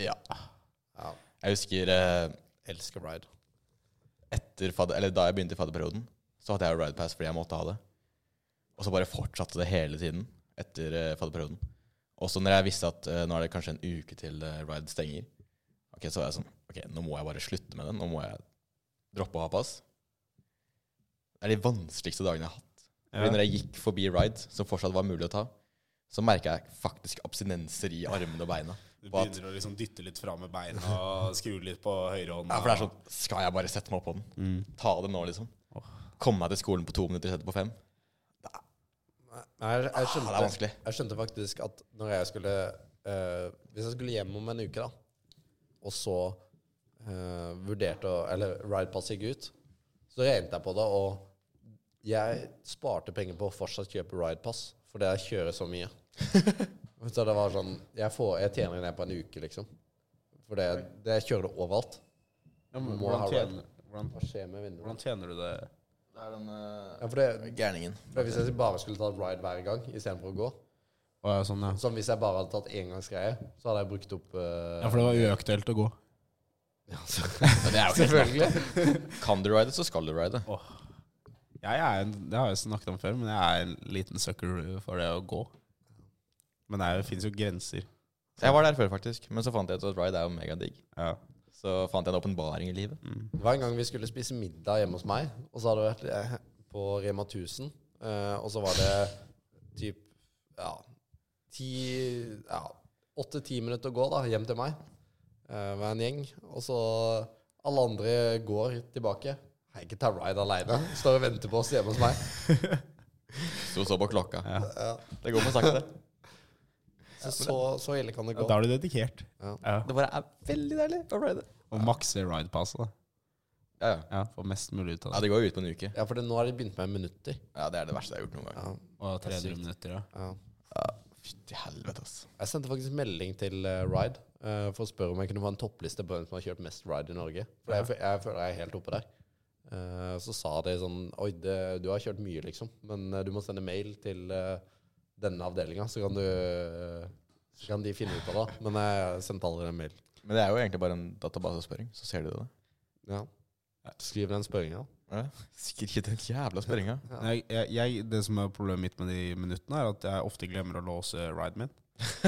Speaker 5: Ja.
Speaker 1: Ja,
Speaker 5: Jeg husker eh,
Speaker 1: elsker ride.
Speaker 5: etter fadder, eller da jeg begynte i fadderperioden, så hadde jeg jo Ride Pass fordi jeg måtte ha det. Og så bare fortsatte det hele tiden etter eh, fadderperioden. Og så når jeg visste at eh, nå er det kanskje en uke til eh, Ride stenger, ok, så var jeg sånn Ok, nå må jeg bare slutte med den. Nå må jeg droppe å ha pass. Det er de vanskeligste dagene jeg har hatt. Fordi når jeg gikk forbi Ride, som fortsatt var mulig å ta, så merka jeg faktisk abstinenser i armene og beina.
Speaker 6: Du
Speaker 5: På at-
Speaker 6: begynner å liksom dytte litt fra med beina og skru litt på høyrehånda.
Speaker 5: Ja, for det er sånn Skal jeg bare sette meg opp på den? Ta det nå, liksom? Komme meg til skolen på to minutter istedenfor på fem?
Speaker 1: Nei, jeg, jeg, skjønte,
Speaker 5: Ah, det er vanskelig.
Speaker 1: jeg skjønte faktisk at når jeg skulle eh, Hvis jeg skulle hjem om en uke, da, og så eh, vurderte å Eller ridepass gikk ut, så regnet jeg på det, og jeg sparte penger på å fortsatt kjøpe ridepass, fordi jeg kjører så mye. så det var sånn Jeg, får, jeg tjener ned på en uke, liksom. For det, det jeg kjører det overalt.
Speaker 4: men,
Speaker 1: Må
Speaker 4: hvordan,
Speaker 1: ha
Speaker 4: tjener,
Speaker 1: ride.
Speaker 4: hvordan,
Speaker 1: Hva skjer med vinduet?
Speaker 4: hvordan tjener du det?
Speaker 5: Det er den eh,
Speaker 1: Ja, for det,
Speaker 5: gærningen.
Speaker 1: for hvis jeg bare skulle ta ride hver gang istedenfor å gå
Speaker 4: Å, ja, sånn, ja.
Speaker 1: Som hvis jeg bare hadde tatt engangsgreie, så hadde jeg brukt opp eh,
Speaker 4: ja, for det var uaktuelt å gå.
Speaker 1: Selvfølgelig.
Speaker 5: sånn. Kan du ride, så skal du ride.
Speaker 4: Jeg er en, det har jeg snakket om før, men jeg er en liten sucker for det å gå. Men det er jo- finnes jo grenser.
Speaker 5: Jeg var der før, faktisk, men så fant jeg ut at ride er jo megadigg.
Speaker 4: Ja.
Speaker 5: Så fant jeg en åpenbaring i livet.
Speaker 1: Det var en gang vi skulle spise middag hjemme hos meg, og så hadde det vært eh, på Rema 1000, eh, og så var det typ ja, ti ja, åtte-ti minutter å gå da, hjem til meg eh, med en gjeng, og så alle andre går tilbake. Jeg kan ikke ta ride aleine. Står og venter på oss hjemme hos meg.
Speaker 5: Sto så på klokka.
Speaker 1: Ja.
Speaker 5: Det går for sakte.
Speaker 1: Så, så, så ille kan det gå.
Speaker 4: Da er du dedikert.
Speaker 1: Ja.
Speaker 5: Det bare er veldig deilig å ride.
Speaker 4: Og makse ridepasset. da.
Speaker 5: Ja, ja.
Speaker 4: Ja, Få mest mulig ut av
Speaker 5: ja,
Speaker 4: det.
Speaker 5: det går jo ut på en uke.
Speaker 1: Ja, for det, nå har de begynt med minutter.
Speaker 5: Ja, Det er det verste jeg har gjort noen gang.
Speaker 1: Ja, det
Speaker 4: Og
Speaker 1: er
Speaker 4: 300
Speaker 1: sykt.
Speaker 4: minutter, ja.
Speaker 1: ja.
Speaker 5: Fytti helvete, ass.
Speaker 1: Jeg sendte faktisk melding til eh, Ride eh, for å spørre om jeg kunne få en toppliste på hvem som har kjørt mest Ride i Norge. For jeg, fø- jeg føler jeg er helt oppe der. Eh, så sa de sånn Oi, det, du har kjørt mye, liksom. Men eh, du må sende mail til eh, denne avdelinga, så kan du eh, Så kan de finne ut av det. Men jeg sendte aldri en mail.
Speaker 5: Men det er jo egentlig bare en databasespørring, så ser du det.
Speaker 1: Ja. Skriv den spørringa.
Speaker 5: Ja. Skriv den jævla spørringa.
Speaker 4: Men Jeg, jeg, jeg, det som er problemet mitt med de minuttene, er at jeg ofte glemmer å låse riden min.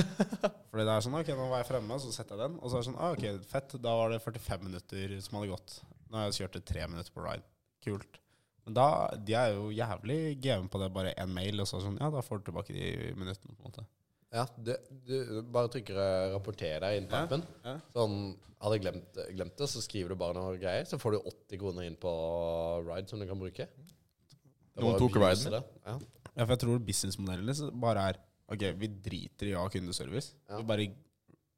Speaker 4: Fordi det er sånn Ok, nå var jeg fremme, så setter jeg den. Og så er det sånn ah, Ok, fett. Da var det 45 minutter som hadde gått. Nå har jeg kjørt det tre minutter på ride. Kult. Men da, de er jo jævlig game på det. Bare én mail, og så er det sånn Ja, da får du tilbake de minuttene, på en måte.
Speaker 1: Ja, du, du bare trykker eh, 'rapporter deg' inn på
Speaker 4: Ja,
Speaker 1: appen.
Speaker 4: ja.
Speaker 1: Sånn, hadde jeg glemt, glemt det, så skriver du bare noe greier. Så får du 80 kroner inn på Ride som du kan bruke. Det
Speaker 5: Noen
Speaker 1: var
Speaker 5: tok
Speaker 1: billigst
Speaker 5: Riden?
Speaker 1: det. Ja.
Speaker 4: Ja, for jeg tror businessmodellen deres bare er Ok, vi driter i å ha kundeservice.
Speaker 1: Ja.
Speaker 4: Vi bare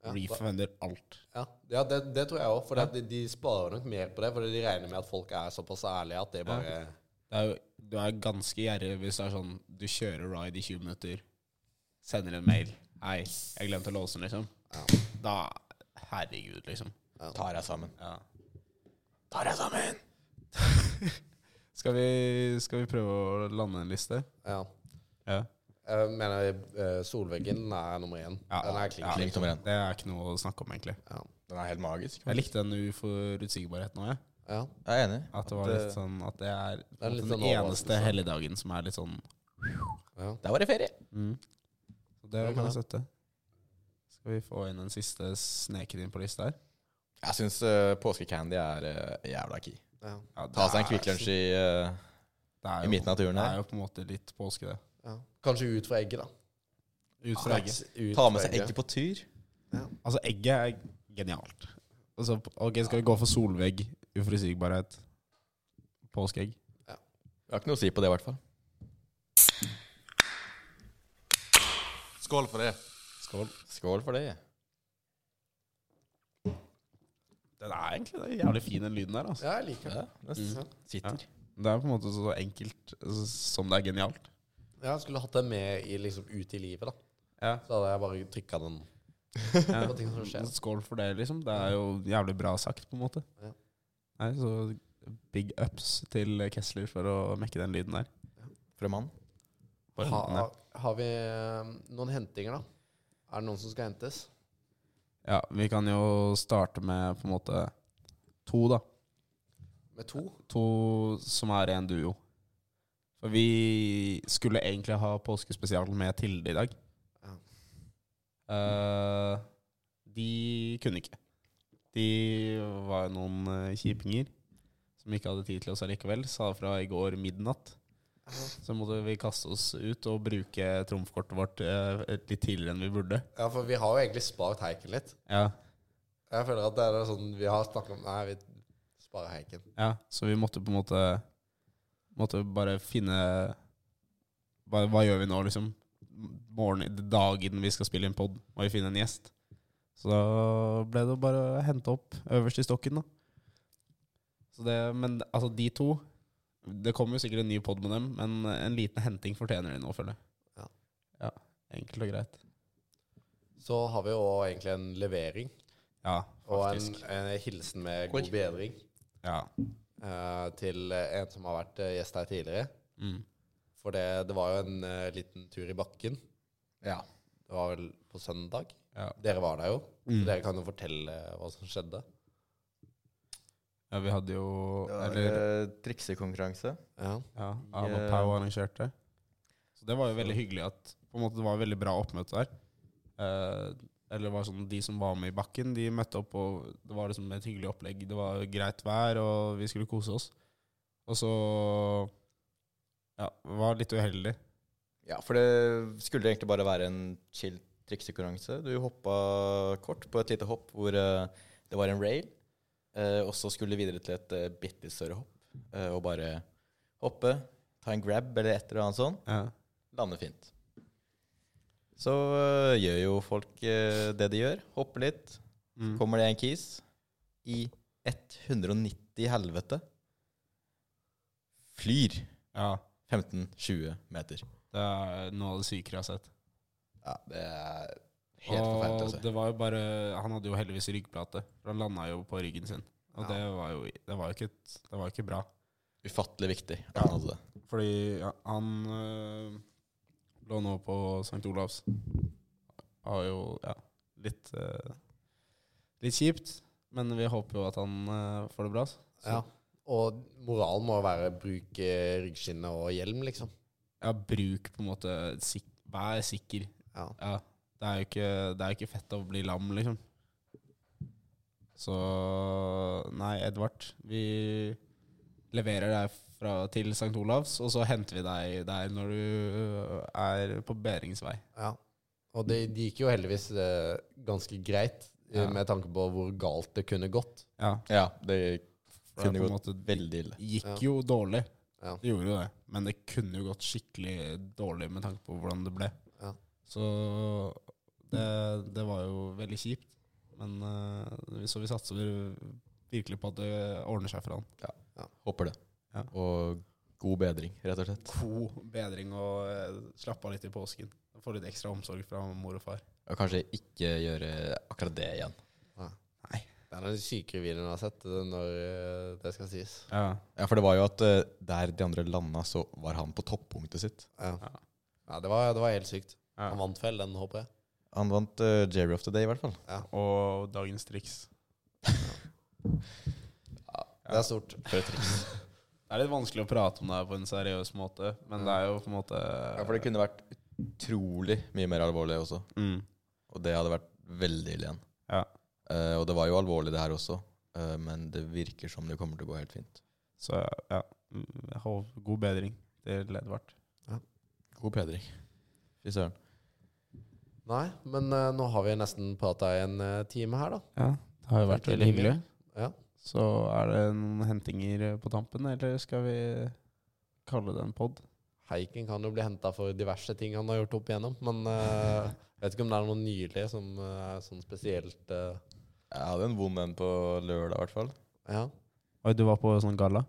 Speaker 1: Ja,
Speaker 4: refender alt.
Speaker 1: Ja, ja det, det tror jeg òg. For de, de sparer nok mer på det. Fordi de regner med at folk er såpass ærlige at det bare
Speaker 4: det er jo, du er ganske gjerrig hvis det er sånn du kjører ride i 20 minutter, sender en mail 'Hei, jeg glemte å låse den', liksom. Da Herregud, liksom.
Speaker 5: Tar jeg sammen.
Speaker 4: Ta deg sammen! skal, vi, skal vi prøve å lande en liste?
Speaker 1: Ja.
Speaker 4: Ja.
Speaker 1: Jeg mener eh, solveggen er nummer én.
Speaker 4: Ja,
Speaker 1: Den er klink.
Speaker 4: ja.
Speaker 5: Link nummer én.
Speaker 4: Det er ikke noe å snakke om, egentlig.
Speaker 1: Ja.
Speaker 5: Den er helt magisk.
Speaker 4: Jeg likte den uforutsigbarheten òg, jeg.
Speaker 1: Ja.
Speaker 5: Jeg er enig.
Speaker 4: At det var
Speaker 5: At,
Speaker 4: litt sånn At det er,
Speaker 1: er litt
Speaker 4: den
Speaker 1: sånn
Speaker 4: eneste
Speaker 1: overraskelse.
Speaker 4: helligdagen som er litt sånn mm.
Speaker 1: Ja.
Speaker 5: Der var det ferie.
Speaker 4: Det
Speaker 1: Ja,
Speaker 4: kan
Speaker 1: ja.
Speaker 4: jeg støtte. Skal vi få inn en siste sneket inn på lista her?
Speaker 5: Jeg syns uh, påskecandy er eh, jævla key.
Speaker 1: Ja.
Speaker 4: Ja,
Speaker 5: Ta
Speaker 4: det
Speaker 5: seg en
Speaker 4: er-
Speaker 5: Kvikk Lunsj i, eh,
Speaker 4: Det er
Speaker 5: i
Speaker 4: jo-
Speaker 5: midten av turen
Speaker 4: Det er
Speaker 5: her.
Speaker 4: jo på en måte litt påske, det.
Speaker 1: Ja. Kanskje ut fra egget, da.
Speaker 4: Ut fra egget.
Speaker 1: Ut
Speaker 5: Ta
Speaker 1: fra
Speaker 5: med seg egget på tur.
Speaker 4: Altså, egget er genialt. Altså, ok, Skal vi gå for solvegg, uforutsigbarhet, påskeegg?
Speaker 5: Jeg har ikke noe å si på det, i hvert fall. Skål for det. Skål. Skål for det.
Speaker 4: Den er egentlig det er jævlig fin, den lyden der. altså.
Speaker 1: Ja, jeg liker det.
Speaker 5: Ja, det s- sitter.
Speaker 4: Det er på en måte så enkelt altså, som det er genialt.
Speaker 1: Ja, jeg skulle hatt den med i, liksom, ut i livet, da.
Speaker 4: Ja.
Speaker 1: Så hadde jeg bare trykka den på ting som skjer.
Speaker 4: Skål for det, liksom. Det er jo jævlig bra sagt, på en måte.
Speaker 1: Ja.
Speaker 4: Nei, så big ups til Kessler for å mekke den lyden der.
Speaker 5: Fra mann.
Speaker 4: Bare
Speaker 1: Ha,
Speaker 4: den der.
Speaker 1: har vi eh, noen hentinger, da? Er det noen som skal hentes?
Speaker 4: Ja, vi kan jo starte med på en måte to, da.
Speaker 1: Med to?
Speaker 4: to som er en duo. For vi skulle egentlig ha påskespesial med Tilde i dag.
Speaker 1: Ja.
Speaker 4: Eh, de kunne ikke. De var noen eh, kjipinger som ikke hadde tid til oss allikevel. Sa fra i går midnatt. Så måtte vi kaste oss ut og bruke trumfkortet vårt eh, litt tidligere enn vi burde.
Speaker 1: Ja, for vi har jo egentlig spart heiken litt.
Speaker 4: Ja,
Speaker 1: Jeg føler at det er sånn vi har snakket om Nei, vi sparer heiken.
Speaker 4: Ja, så vi måtte på en måte Måtte bare finne Hva, hva gjør vi nå, liksom? Morgen, dagen vi skal spille inn pod, må vi finne en gjest. Så da ble det bare å hente opp øverst i stokken, da. Så det, men altså, de to Det kommer jo sikkert en ny pod med dem, men en liten henting fortjener de nå, føler jeg.
Speaker 1: Ja.
Speaker 4: ja. Enkelt og greit.
Speaker 1: Så har vi jo egentlig en levering
Speaker 4: Ja,
Speaker 1: og en,
Speaker 4: faktisk.
Speaker 1: en hilsen med god
Speaker 5: Oi.
Speaker 1: bedring
Speaker 4: Ja.
Speaker 1: eh, til en som har vært eh, gjest her tidligere.
Speaker 4: Mm.
Speaker 1: For det, det var jo en eh, liten tur i bakken.
Speaker 5: Ja.
Speaker 1: Det var vel på søndag.
Speaker 4: Ja.
Speaker 1: Dere var der jo.
Speaker 4: Mm.
Speaker 1: Så dere kan jo fortelle hva som skjedde.
Speaker 4: ja, vi hadde jo Eller
Speaker 5: Eller triksekonkurranse.
Speaker 1: Ja.
Speaker 4: Ja,
Speaker 5: I,
Speaker 4: Av og
Speaker 5: eh,
Speaker 4: Pau arrangerte. Så det var jo veldig hyggelig at på en måte, det var veldig bra oppmøte der. Eh, eller det var sånn, De som var med i bakken, de møtte opp, og det var liksom et hyggelig opplegg. Det var greit vær, og vi skulle kose oss. Og så ja, var litt uheldig.
Speaker 5: Ja, for det skulle egentlig bare være en chill triksekonkurranse. Du hoppa kort på et lite hopp hvor eh, det var en rail, eh, og så skulle du videre til et eh, bitte større hopp, eh, og bare hoppe, ta en grab eller et eller annet sånn,
Speaker 4: Ja.
Speaker 5: lande fint. Så eh, gjør jo folk eh, det de gjør, hopper litt,
Speaker 4: Mm.
Speaker 5: kommer det en kis i 190 helvete. Flyr
Speaker 4: ja.
Speaker 5: 15-20 meter.
Speaker 4: Det er noe av det sykere jeg har sett.
Speaker 5: Ja, det er helt forferdelig altså. å
Speaker 4: Og
Speaker 5: se.
Speaker 4: det var jo bare Han hadde jo heldigvis ryggplate, for han landa jo på ryggen sin. Og
Speaker 1: Ja.
Speaker 4: det var jo det var jo ikke, det var jo ikke bra.
Speaker 5: Ufattelig viktig. at han hadde det.
Speaker 4: Fordi ja, han øh, lå nå på St. Olavs. Har jo ja, litt øh, Litt kjipt, men vi håper jo at han øh, får det bra. altså. Så,
Speaker 1: Ja. Og moralen må jo være bruk eh, ryggskinne og hjelm, liksom.
Speaker 4: ja, bruk på en måte sik Vær sikker.
Speaker 1: Ja.
Speaker 4: Ja, det er jo ikke, det er jo ikke fett å bli lam, liksom. Så Nei, Edvard, vi leverer deg fra, til St. Olavs, og så henter vi deg der når du øh, er på bedringsvei.
Speaker 1: Ja. Og det, det gikk jo heldigvis eh, ganske greit, eh,
Speaker 4: Ja.
Speaker 1: med tanke på hvor galt det kunne gått.
Speaker 4: Ja,
Speaker 5: Ja, det
Speaker 4: For det er
Speaker 5: kunne
Speaker 4: på en
Speaker 5: gått
Speaker 4: måte-
Speaker 5: veldig ille.
Speaker 4: gikk
Speaker 1: Ja.
Speaker 4: jo dårlig.
Speaker 1: Ja.
Speaker 4: Det gjorde jo det. Men det kunne jo gått skikkelig dårlig med tanke på hvordan det ble.
Speaker 1: Ja.
Speaker 4: Så det, det var jo veldig kjipt. Men eh, så vi satser virkelig på at det ordner seg for han.
Speaker 5: Håper det.
Speaker 4: Ja.
Speaker 5: Og god bedring, rett og slett.
Speaker 4: God bedring og eh, slappe av litt i påsken. Få litt ekstra omsorg fra mor og far.
Speaker 5: Og kanskje ikke gjøre akkurat det igjen.
Speaker 1: Det er den sykere videoen jeg har sett, eh, når eh, det skal sies.
Speaker 4: Ja.
Speaker 5: Ja, for det var jo at eh, der de andre landa, så var han på toppunktet sitt.
Speaker 1: Ja.
Speaker 4: Ja.
Speaker 1: Ja, det, var, det var helt sykt. Han vant vel den, håper jeg.
Speaker 5: Han vant uh, Jerry of the Day, i hvert fall.
Speaker 4: Og dagens triks.
Speaker 1: Det er stort.
Speaker 5: For et triks.
Speaker 4: Det er litt vanskelig å prate om det her på en seriøs måte, men det er jo på en måte
Speaker 5: Ja, for det kunne vært utrolig mye mer alvorlig også.
Speaker 4: mm.
Speaker 5: Og det hadde vært veldig ille igjen.
Speaker 4: Ja.
Speaker 5: Eh, og det var jo alvorlig, det her også. eh, men det virker som det kommer til å gå helt fint.
Speaker 4: Så ja, mm, jeg håper god bedring til Edvard.
Speaker 5: God bedring. Fy søren.
Speaker 1: Nei, men eh, nå har vi nesten prata i en eh, time her, da.
Speaker 4: Ja, det har jo vært
Speaker 1: Takk,
Speaker 4: veldig hyggelig.
Speaker 1: Ja.
Speaker 4: Så er det noen hentinger eh, på tampen, eller skal vi kalle det en pod?
Speaker 1: Haiken kan jo bli henta for diverse ting han har gjort opp igjennom, men eh, jeg vet ikke om det er noe nylig som eh, er sånn spesielt eh,
Speaker 5: Jeg hadde en vond en på lørdag, i hvert fall.
Speaker 1: Ja.
Speaker 4: Oi, du var på sånn galla?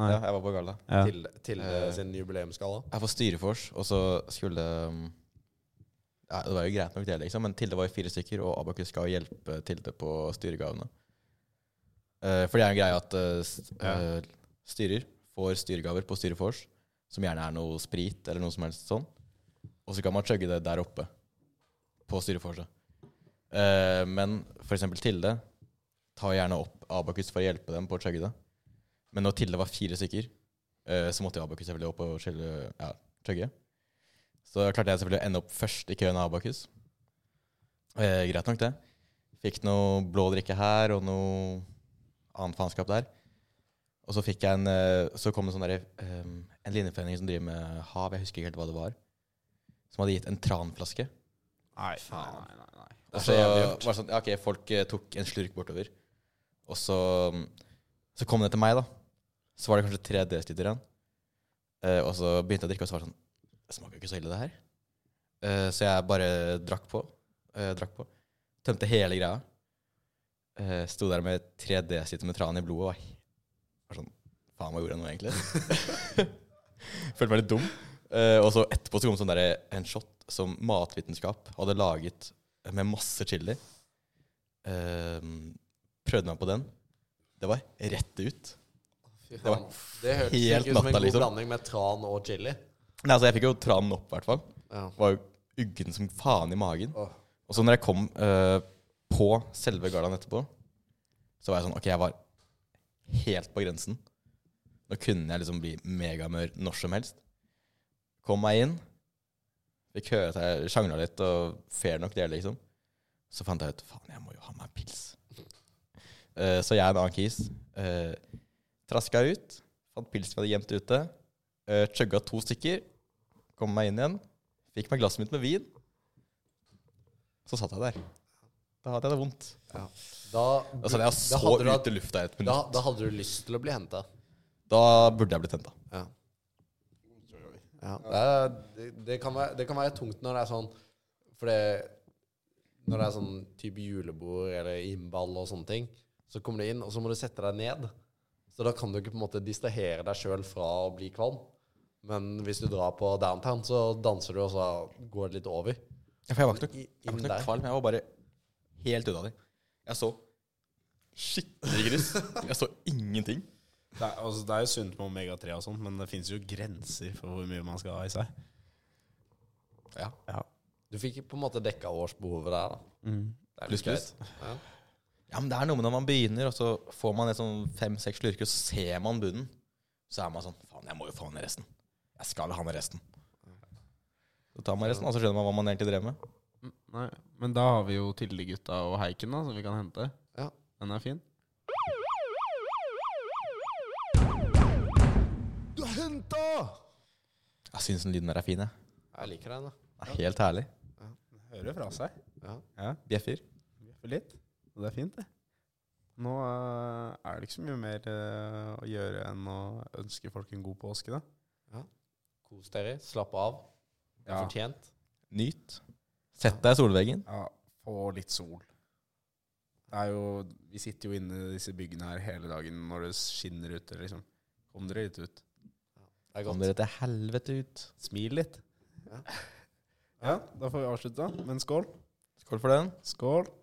Speaker 4: Nei.
Speaker 5: Ja, jeg var på galla.
Speaker 4: Ja.
Speaker 1: Til, til eh,
Speaker 5: Eh.
Speaker 1: sin jubileumsgalla.
Speaker 5: Jeg var styrefors, og så skulle um, ja, Det var jo greit nok, det, liksom, men Tilde var jo fire stykker, og Abakus skal jo hjelpe Tilde på styregavene. Eh, for det er jo greia at eh, s- eh, styrer får styregaver på styrefors, som gjerne er noe sprit eller noe som helst sånn, og så kan man chugge det der oppe på styreforset. Eh, men for eksempel Tilde tar gjerne opp Abakus for å hjelpe dem på å chugge det. Men når Tilde var fire stykker, eh, så måtte jo Abakus selvfølgelig opp og skjelle, ja, chugge. Så klarte jeg selvfølgelig å ende opp først i køen av Abakus. Eh, greit nok, det. Fikk noe blå drikke her og noe annet faenskap der. Og så fikk jeg en eh, Så kom det sånn derre, eh, en linjeforening som driver med hav, jeg husker ikke helt hva det var, som hadde gitt en tranflaske.
Speaker 4: Nei, faen. Nei, nei, nei.
Speaker 5: Og så var det sånn, ja, ok, folk eh, tok en slurk bortover. Og så, mm, så kom det til meg, da. Så var det kanskje tre desiliter igjen. Eh, og så begynte jeg å drikke, og så var det sånn Det smaker jo ikke så ille, det her. Eh, så jeg bare drakk på. eh, drakk på. Tømte hele greia. Uh, sto der med tre desiliter med tran i blodet og var he- var sånn Faen, hva gjorde jeg nå, egentlig? Følte meg litt dum. Eh, og så etterpå så kom sånn der, en shot som Matvitenskap hadde laget med masse chili. Ehm, prøvde meg på den. Det var rett ut.
Speaker 1: Fy
Speaker 5: var
Speaker 1: faen. Det hørtes
Speaker 5: helt
Speaker 1: ikke ut som en
Speaker 5: natta,
Speaker 1: god
Speaker 5: liksom.
Speaker 1: blanding med tran og chili.
Speaker 5: Nei, altså Jeg fikk jo tranen opp, i hvert fall.
Speaker 1: Ja.
Speaker 5: Var jo uggen som faen i magen.
Speaker 1: Åh.
Speaker 5: Og så når jeg kom eh, på selve gallaen etterpå, så var jeg sånn Ok, jeg var helt på grensen. Nå kunne jeg liksom bli megamør når som helst. Kom meg inn. Fikk høre at jeg sjangla litt, og fair nok det, liksom. Så fant jeg ut faen, jeg må jo ha meg en pils. Eh, så jeg og en annen kis eh, traska ut, fant pils vi hadde gjemt ute, uh, chugga to stykker, kom meg inn igjen, fikk meg glasset mitt med vin. Så satt jeg der. Da hadde jeg det vondt.
Speaker 1: Da,
Speaker 5: Da satt jeg og
Speaker 1: da
Speaker 5: Altså, så
Speaker 1: hadde du
Speaker 5: ut
Speaker 1: hatt-
Speaker 5: i lufta i et
Speaker 1: da,
Speaker 5: minutt.
Speaker 1: da hadde du lyst til å bli henta.
Speaker 5: Da burde jeg blitt henta.
Speaker 1: Ja. Det, er, det, det, kan være, det kan være tungt når det er sånn For det Når det er sånn type julebord eller innball og sånne ting, så kommer du inn, og så må du sette deg ned. Så da kan du ikke på en måte distrahere deg sjøl fra å bli kvalm. Men hvis du drar på downtown, så danser du, og så går det litt over.
Speaker 5: For jeg var ikke
Speaker 1: I-
Speaker 5: noe, jeg var
Speaker 1: inn
Speaker 5: ikke
Speaker 1: der.
Speaker 5: noe kvalm. Jeg var bare helt ute av det. Jeg så skikkelig grus. Jeg så ingenting.
Speaker 6: Det er, altså, det er jo sunt med omega-3 og sånt, men det finnes jo grenser for hvor mye man skal ha i seg.
Speaker 5: Ja.
Speaker 1: Du fikk på en måte dekka årsbehovet der, da. Det er litt
Speaker 5: Pluss, Mm. pluss.
Speaker 1: greit. Ja.
Speaker 5: Ja, men det er noe med når man begynner, og så får man et sånn fem-seks slurker, og så ser man bunnen. Så er man sånn Faen, jeg må jo få ned resten. Jeg skal ha ned resten. Så tar man resten, og så skjønner man hva man egentlig drev med.
Speaker 4: Nei, men da har vi jo Tilde-gutta og Heiken, da, som vi kan hente.
Speaker 1: Ja.
Speaker 4: Den er fin.
Speaker 1: Du er henta!
Speaker 5: Jeg syns den lyden der er fin, jeg.
Speaker 1: Jeg liker den, da.
Speaker 5: Det er helt herlig.
Speaker 6: Hører fra seg.
Speaker 5: Bjeffer.
Speaker 6: Bjeffer litt. Og det er fint, det. Nå eh, er det ikke så mye mer eh, å gjøre enn å ønske folk en god påske, da.
Speaker 1: Kos dere. Slapp av. Det er
Speaker 6: Ja.
Speaker 1: fortjent.
Speaker 5: Nyt. Sett deg i solveggen.
Speaker 6: Ja, få litt sol. Det er jo Vi sitter jo inne i disse byggene her hele dagen når det skinner ute, liksom. Kom dere litt ut.
Speaker 1: Det er
Speaker 5: Kom
Speaker 1: godt.
Speaker 5: dere til helvete ut.
Speaker 6: Smil litt.
Speaker 1: Ja.
Speaker 6: Ja, da får vi avslutte, da. Men skål.
Speaker 5: Skål for den.
Speaker 6: Skål.